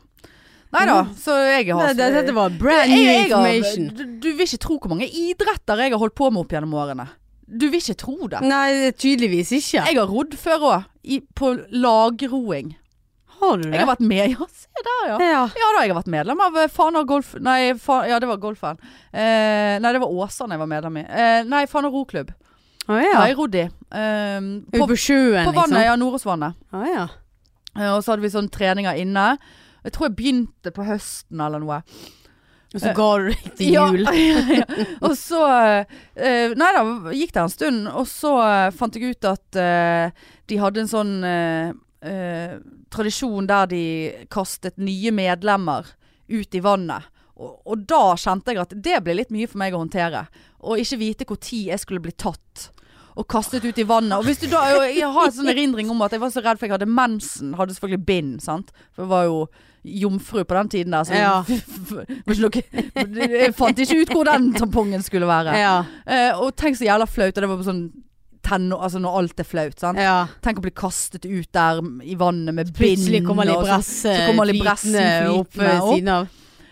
Nei da, så jeg har Nei, det, dette var Jeg- brand new jeg har- information. du, du vil ikke tro hvor mange idretter jeg har holdt på med opp gjennom årene. Du vil ikke tro det. Nei, tydeligvis ikke. Jeg har rodd før òg, på lagroing. har du det? Jeg har vært med (laughs) Ja, se der, ja. Ja ja. da, jeg har vært medlem av eh, Fana Golf... Nei, fa, ja, det var golfen. Eh, nei, det var Åsane jeg var medlem i. Eh, nei, Fana roklubb. Å Ja. ja. Har jeg rodd i. Ehm, Ute på, på sjøen, på vannet, ja. Nordåsvannet. liksom. Å ja. Eh, Og så hadde vi sånne treninger inne. Jeg tror jeg begynte på høsten eller noe. Og så ga du deg til Eh, Ja, jul. (laughs) ja, ja. Og så eh, Nei da, gikk det en stund, og så eh, fant jeg ut at eh, de hadde en sånn eh, eh, tradisjon der de kastet nye medlemmer ut i vannet. Og, og da kjente jeg at det ble litt mye for meg å håndtere. Og ikke vite når jeg skulle bli tatt. og kastet ut i vannet. Og hvis du da, jeg, jeg har en sånn erindring om at jeg var så redd for jeg hadde mensen. Hadde selvfølgelig bind, sant. For jeg var jo jomfru på den tiden der, så (laughs) Ja. det var ikke noe, jeg fant ikke ut hvor den tampongen skulle være. Ja. Eh, og tenk så jævla flaut, og det var på sånn tenno, altså når alt er flaut, sant. ja. Tenk å bli kastet ut der i vannet med bind. Plutselig kommer og sånn. libressen så kommer libressen opp flytende ved opp. siden av.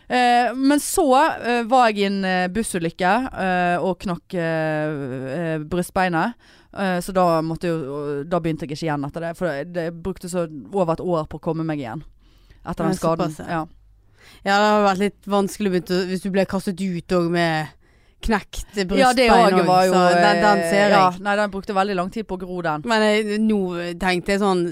Eh, men så eh, var jeg i en eh, bussulykke eh, og knakk eh, eh, brystbeinet. Eh, så da, måtte jo, da begynte jeg ikke igjen etter det. For det, det brukte så over et år på å komme meg igjen. Etter Ja, den skaden. såpass, ja. Ja. Ja, det har vært litt vanskelig å begynne å- hvis du ble kastet ut òg med knekt brystbein. ja, det òg også, var jo så den, den eh, ser jeg. ja, Nei, den brukte veldig lang tid på å gro, den. Men jeg, nå tenkte jeg sånn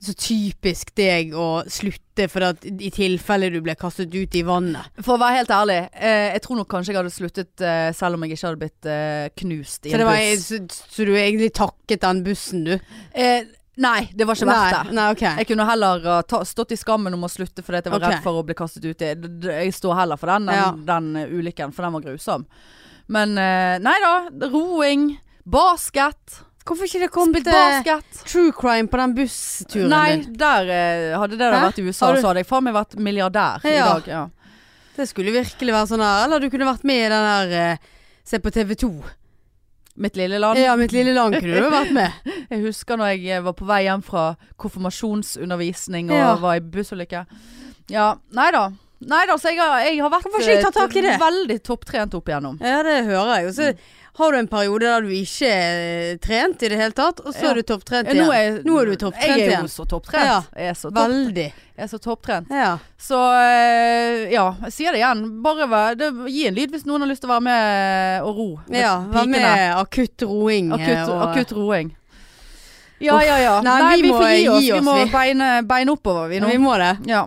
Så typisk deg å slutte, for at i tilfelle du ble kastet ut i vannet. For å være helt ærlig, eh, jeg tror nok kanskje jeg hadde sluttet eh, selv om jeg ikke hadde blitt eh, knust i Så, en det var, buss. så, så du egentlig takket den bussen, du? Eh, nei, det var ikke verdt det. Nei, nei, ok. Jeg kunne heller uh, ta, stått i skammen om å slutte fordi at jeg var Ok. redd for å bli kastet ut. i- d- d- Jeg står heller for den, den, Ja. den uh, ulykken, for den var grusom. Men eh, nei da. Roing. Basket. Hvorfor ikke det kom Spilt til basket. true crime på den bussturen Nei, din? der eh, hadde det da Hæ? vært i USA, Har du- så hadde jeg faen meg vært milliardær i Ja. dag. Ja. Det skulle virkelig være sånn her. Eller du kunne vært med i den her eh, Se på TV 2. Mitt lille land. Ja, Mitt lille land kunne du jo vært med. Jeg husker når jeg eh, var på vei hjem fra konfirmasjonsundervisning og Ja. var i bussulykke. Ja, nei da. Nei da, så jeg har, jeg har vært Hvorfor ikke jeg tar eh, tak i det? veldig topptrent opp igjennom. Ja, det hører jeg. Og så har du en periode der du ikke er trent i det hele tatt, og så Ja. er du topptrent Ja, Eh, nå, igjen. er, Nå er du topptrent Jeg er igjen. jo så topptrent. Ja. Jeg, er så topp, Veldig. jeg er så topptrent. Ja. Så eh, ja, jeg sier det igjen. Bare vær, det, gi en lyd hvis noen har lyst til å være med og ro. med ja vær pikene. med akutt roing. eh, Akutt, og- akutt roing. Ja, Uff. ja, ja. Nei, vi må får gi oss. gi oss, Vi må vi. beine, beine oppover, vi Ja, nå. vi må det. Ja.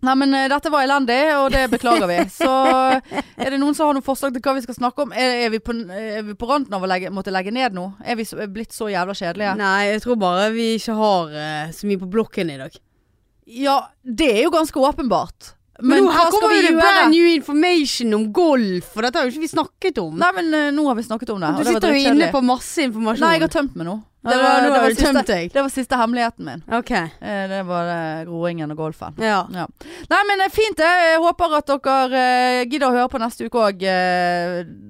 Nei, men eh, dette var elendig, og det beklager (laughs) vi. Så eh, er det noen som har noen forslag til hva vi skal snakke om? Er, er, vi, på, er vi på randen av å legge, måtte legge ned nå? Er vi så, er blitt så jævla kjedelige? Nei, jeg tror bare vi ikke har eh, så mye på blokken i dag. Ja, det er jo ganske åpenbart. Men, Men, nå, hva her skal kommer vi jo det gjøre? brand new information om golf, og dette har jo ikke vi snakket om. Nei, men eh, nå har vi snakket om det. du sitter jo inne på masse informasjon. Nei, jeg har tømt meg nå. Ja, det var- nå har du siste- tømt deg. Det var siste hemmeligheten min. Ok, Eh, Det var eh, groingen og golfen. ja. Ja. Nei, men eh, fint det. Jeg håper at dere eh, gidder å høre på neste uke òg.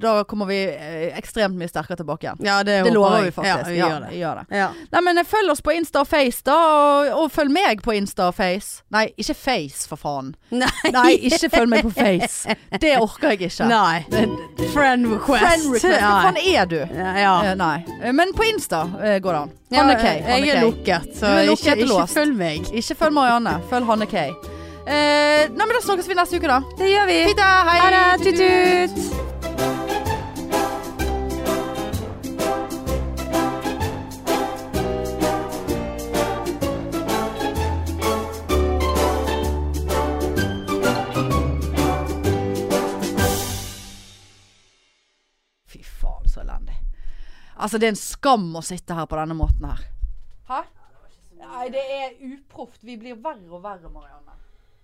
Da kommer vi eh, ekstremt mye sterkere tilbake igjen. ja det, Det håper lover vi jeg. faktisk. Ja, vi gjør det. vi gjør det. Ja. Nei, men eh, følg oss på Insta og Face, da. Og, og følg meg på Insta og Face. Nei, ikke Face, for (laughs) faen. Nei. Nei, ikke følg meg på Face. Det orker jeg ikke. (laughs) Nei. Friend request. Friend request. Hva faen er du? Ja. ja. Eh, nei. Eh, Men på Insta eh, går det an. Ja, Hanne K. jeg er Hanne K. lukket, Du så er lukket ikke, og ikke låst. følg meg. Ikke følg Marianne, følg Hanne K. Eh, nei, men da snakkes vi neste uke, da. Det gjør vi. Fint, da. Hei. Ha det. Tut-tut. Fy faen, så elendig. Altså, det er en skam å sitte her på denne måten her. Hæ? Nei, det er uproft. Vi blir verre og verre, Marianne.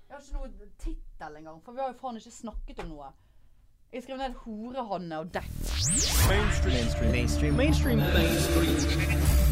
Jeg har ikke noe tittel engang, for vi har jo faen ikke snakket om noe. Jeg skrev ned 'Horehanne' og 'Dekk'. mainstream mainstream mainstream mainstream mainstream